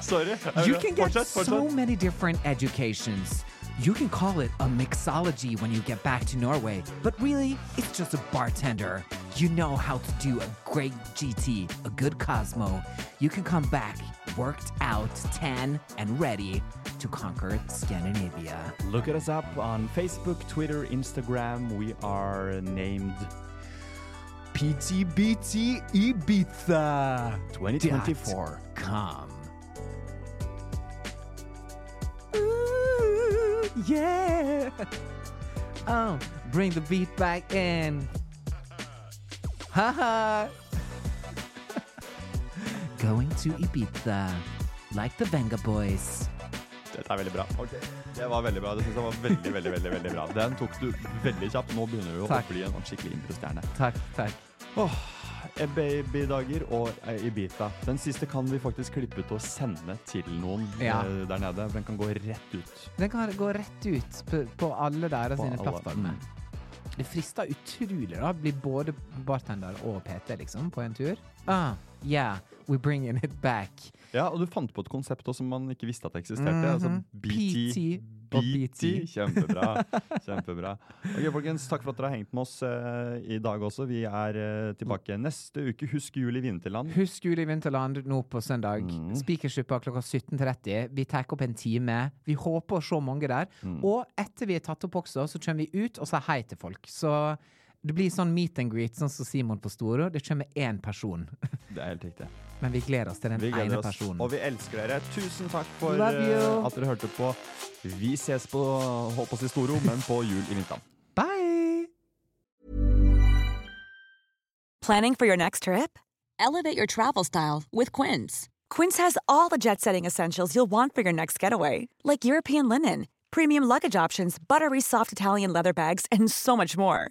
S2: Sorry.
S1: You can get
S2: Fortsett,
S1: so
S2: fortsett.
S1: many different educations. You can call it a mixology when you get back to Norway, but really, it's just a bartender. You know how to do a great GT, a good Cosmo. You can come back worked out, tan, and ready to conquer Scandinavia.
S2: Look at us up on Facebook, Twitter, Instagram. We are named PTBT Ibiza 2024.
S1: Come. Ooh, yeah. Oh, bring the beat back in. Haha. [laughs] Going to Ibiza, like the Venga Boys.
S2: Dette er veldig bra. Det var veldig bra. Det synes jeg var veldig, veldig, veldig, veldig bra. Den tok du veldig kjapt. Nå begynner du
S1: Takk.
S2: å bli en sånn skikkelig improstjerne.
S1: Takk, takk.
S2: Åh, eh, Babydager og eh, Ibiza. Den siste kan vi faktisk klippe ut og sende til noen
S1: Ja.
S2: eh, der nede. Den kan gå rett ut.
S1: Den kan gå rett ut på, på alle deres
S2: På
S1: sine
S2: alle.
S1: plattformer. Det frister utrolig da, å bli både bartender og PT liksom, på en tur. Ah, yeah, we're bringing it back.
S2: Ja, og du fant på et konsept også som man ikke visste at eksisterte. altså BT.
S1: PT Mhm. og BT.
S2: Kjempebra. kjempebra. Ok, folkens, Takk for at dere har hengt med oss eh, i dag også. Vi er eh, tilbake neste uke. Husk jul i Vinterland.
S1: Husk Jul i Vinterland nå på søndag.
S2: Mm.
S1: Spikersuppa klokka 17.30. Vi tar opp en time. Vi håper å se mange der.
S2: Mm.
S1: Og etter vi er tatt opp også, så kommer vi ut og sier hei til folk. Så det blir sånn meet and greet, sånn som Simon på Storå. Det kommer én person. [laughs]
S2: Det er helt riktig.
S1: Men vi gleder oss til den
S2: Vi gleder
S1: ene
S2: oss,
S1: personen.
S2: og vi elsker dere. Tusen takk for
S1: Love you.
S2: eh, at dere hørte på. Vi ses på Holdt på å si Storo, men på Jul i Vinterland.
S1: Bye!
S3: Planning for your next trip?
S4: Elevate your travel style with Quince.
S3: Quince has all the jet setting essentials you'll want for your next getaway, like European linen, premium luggage options, buttery soft Italian leather bags, and so much more.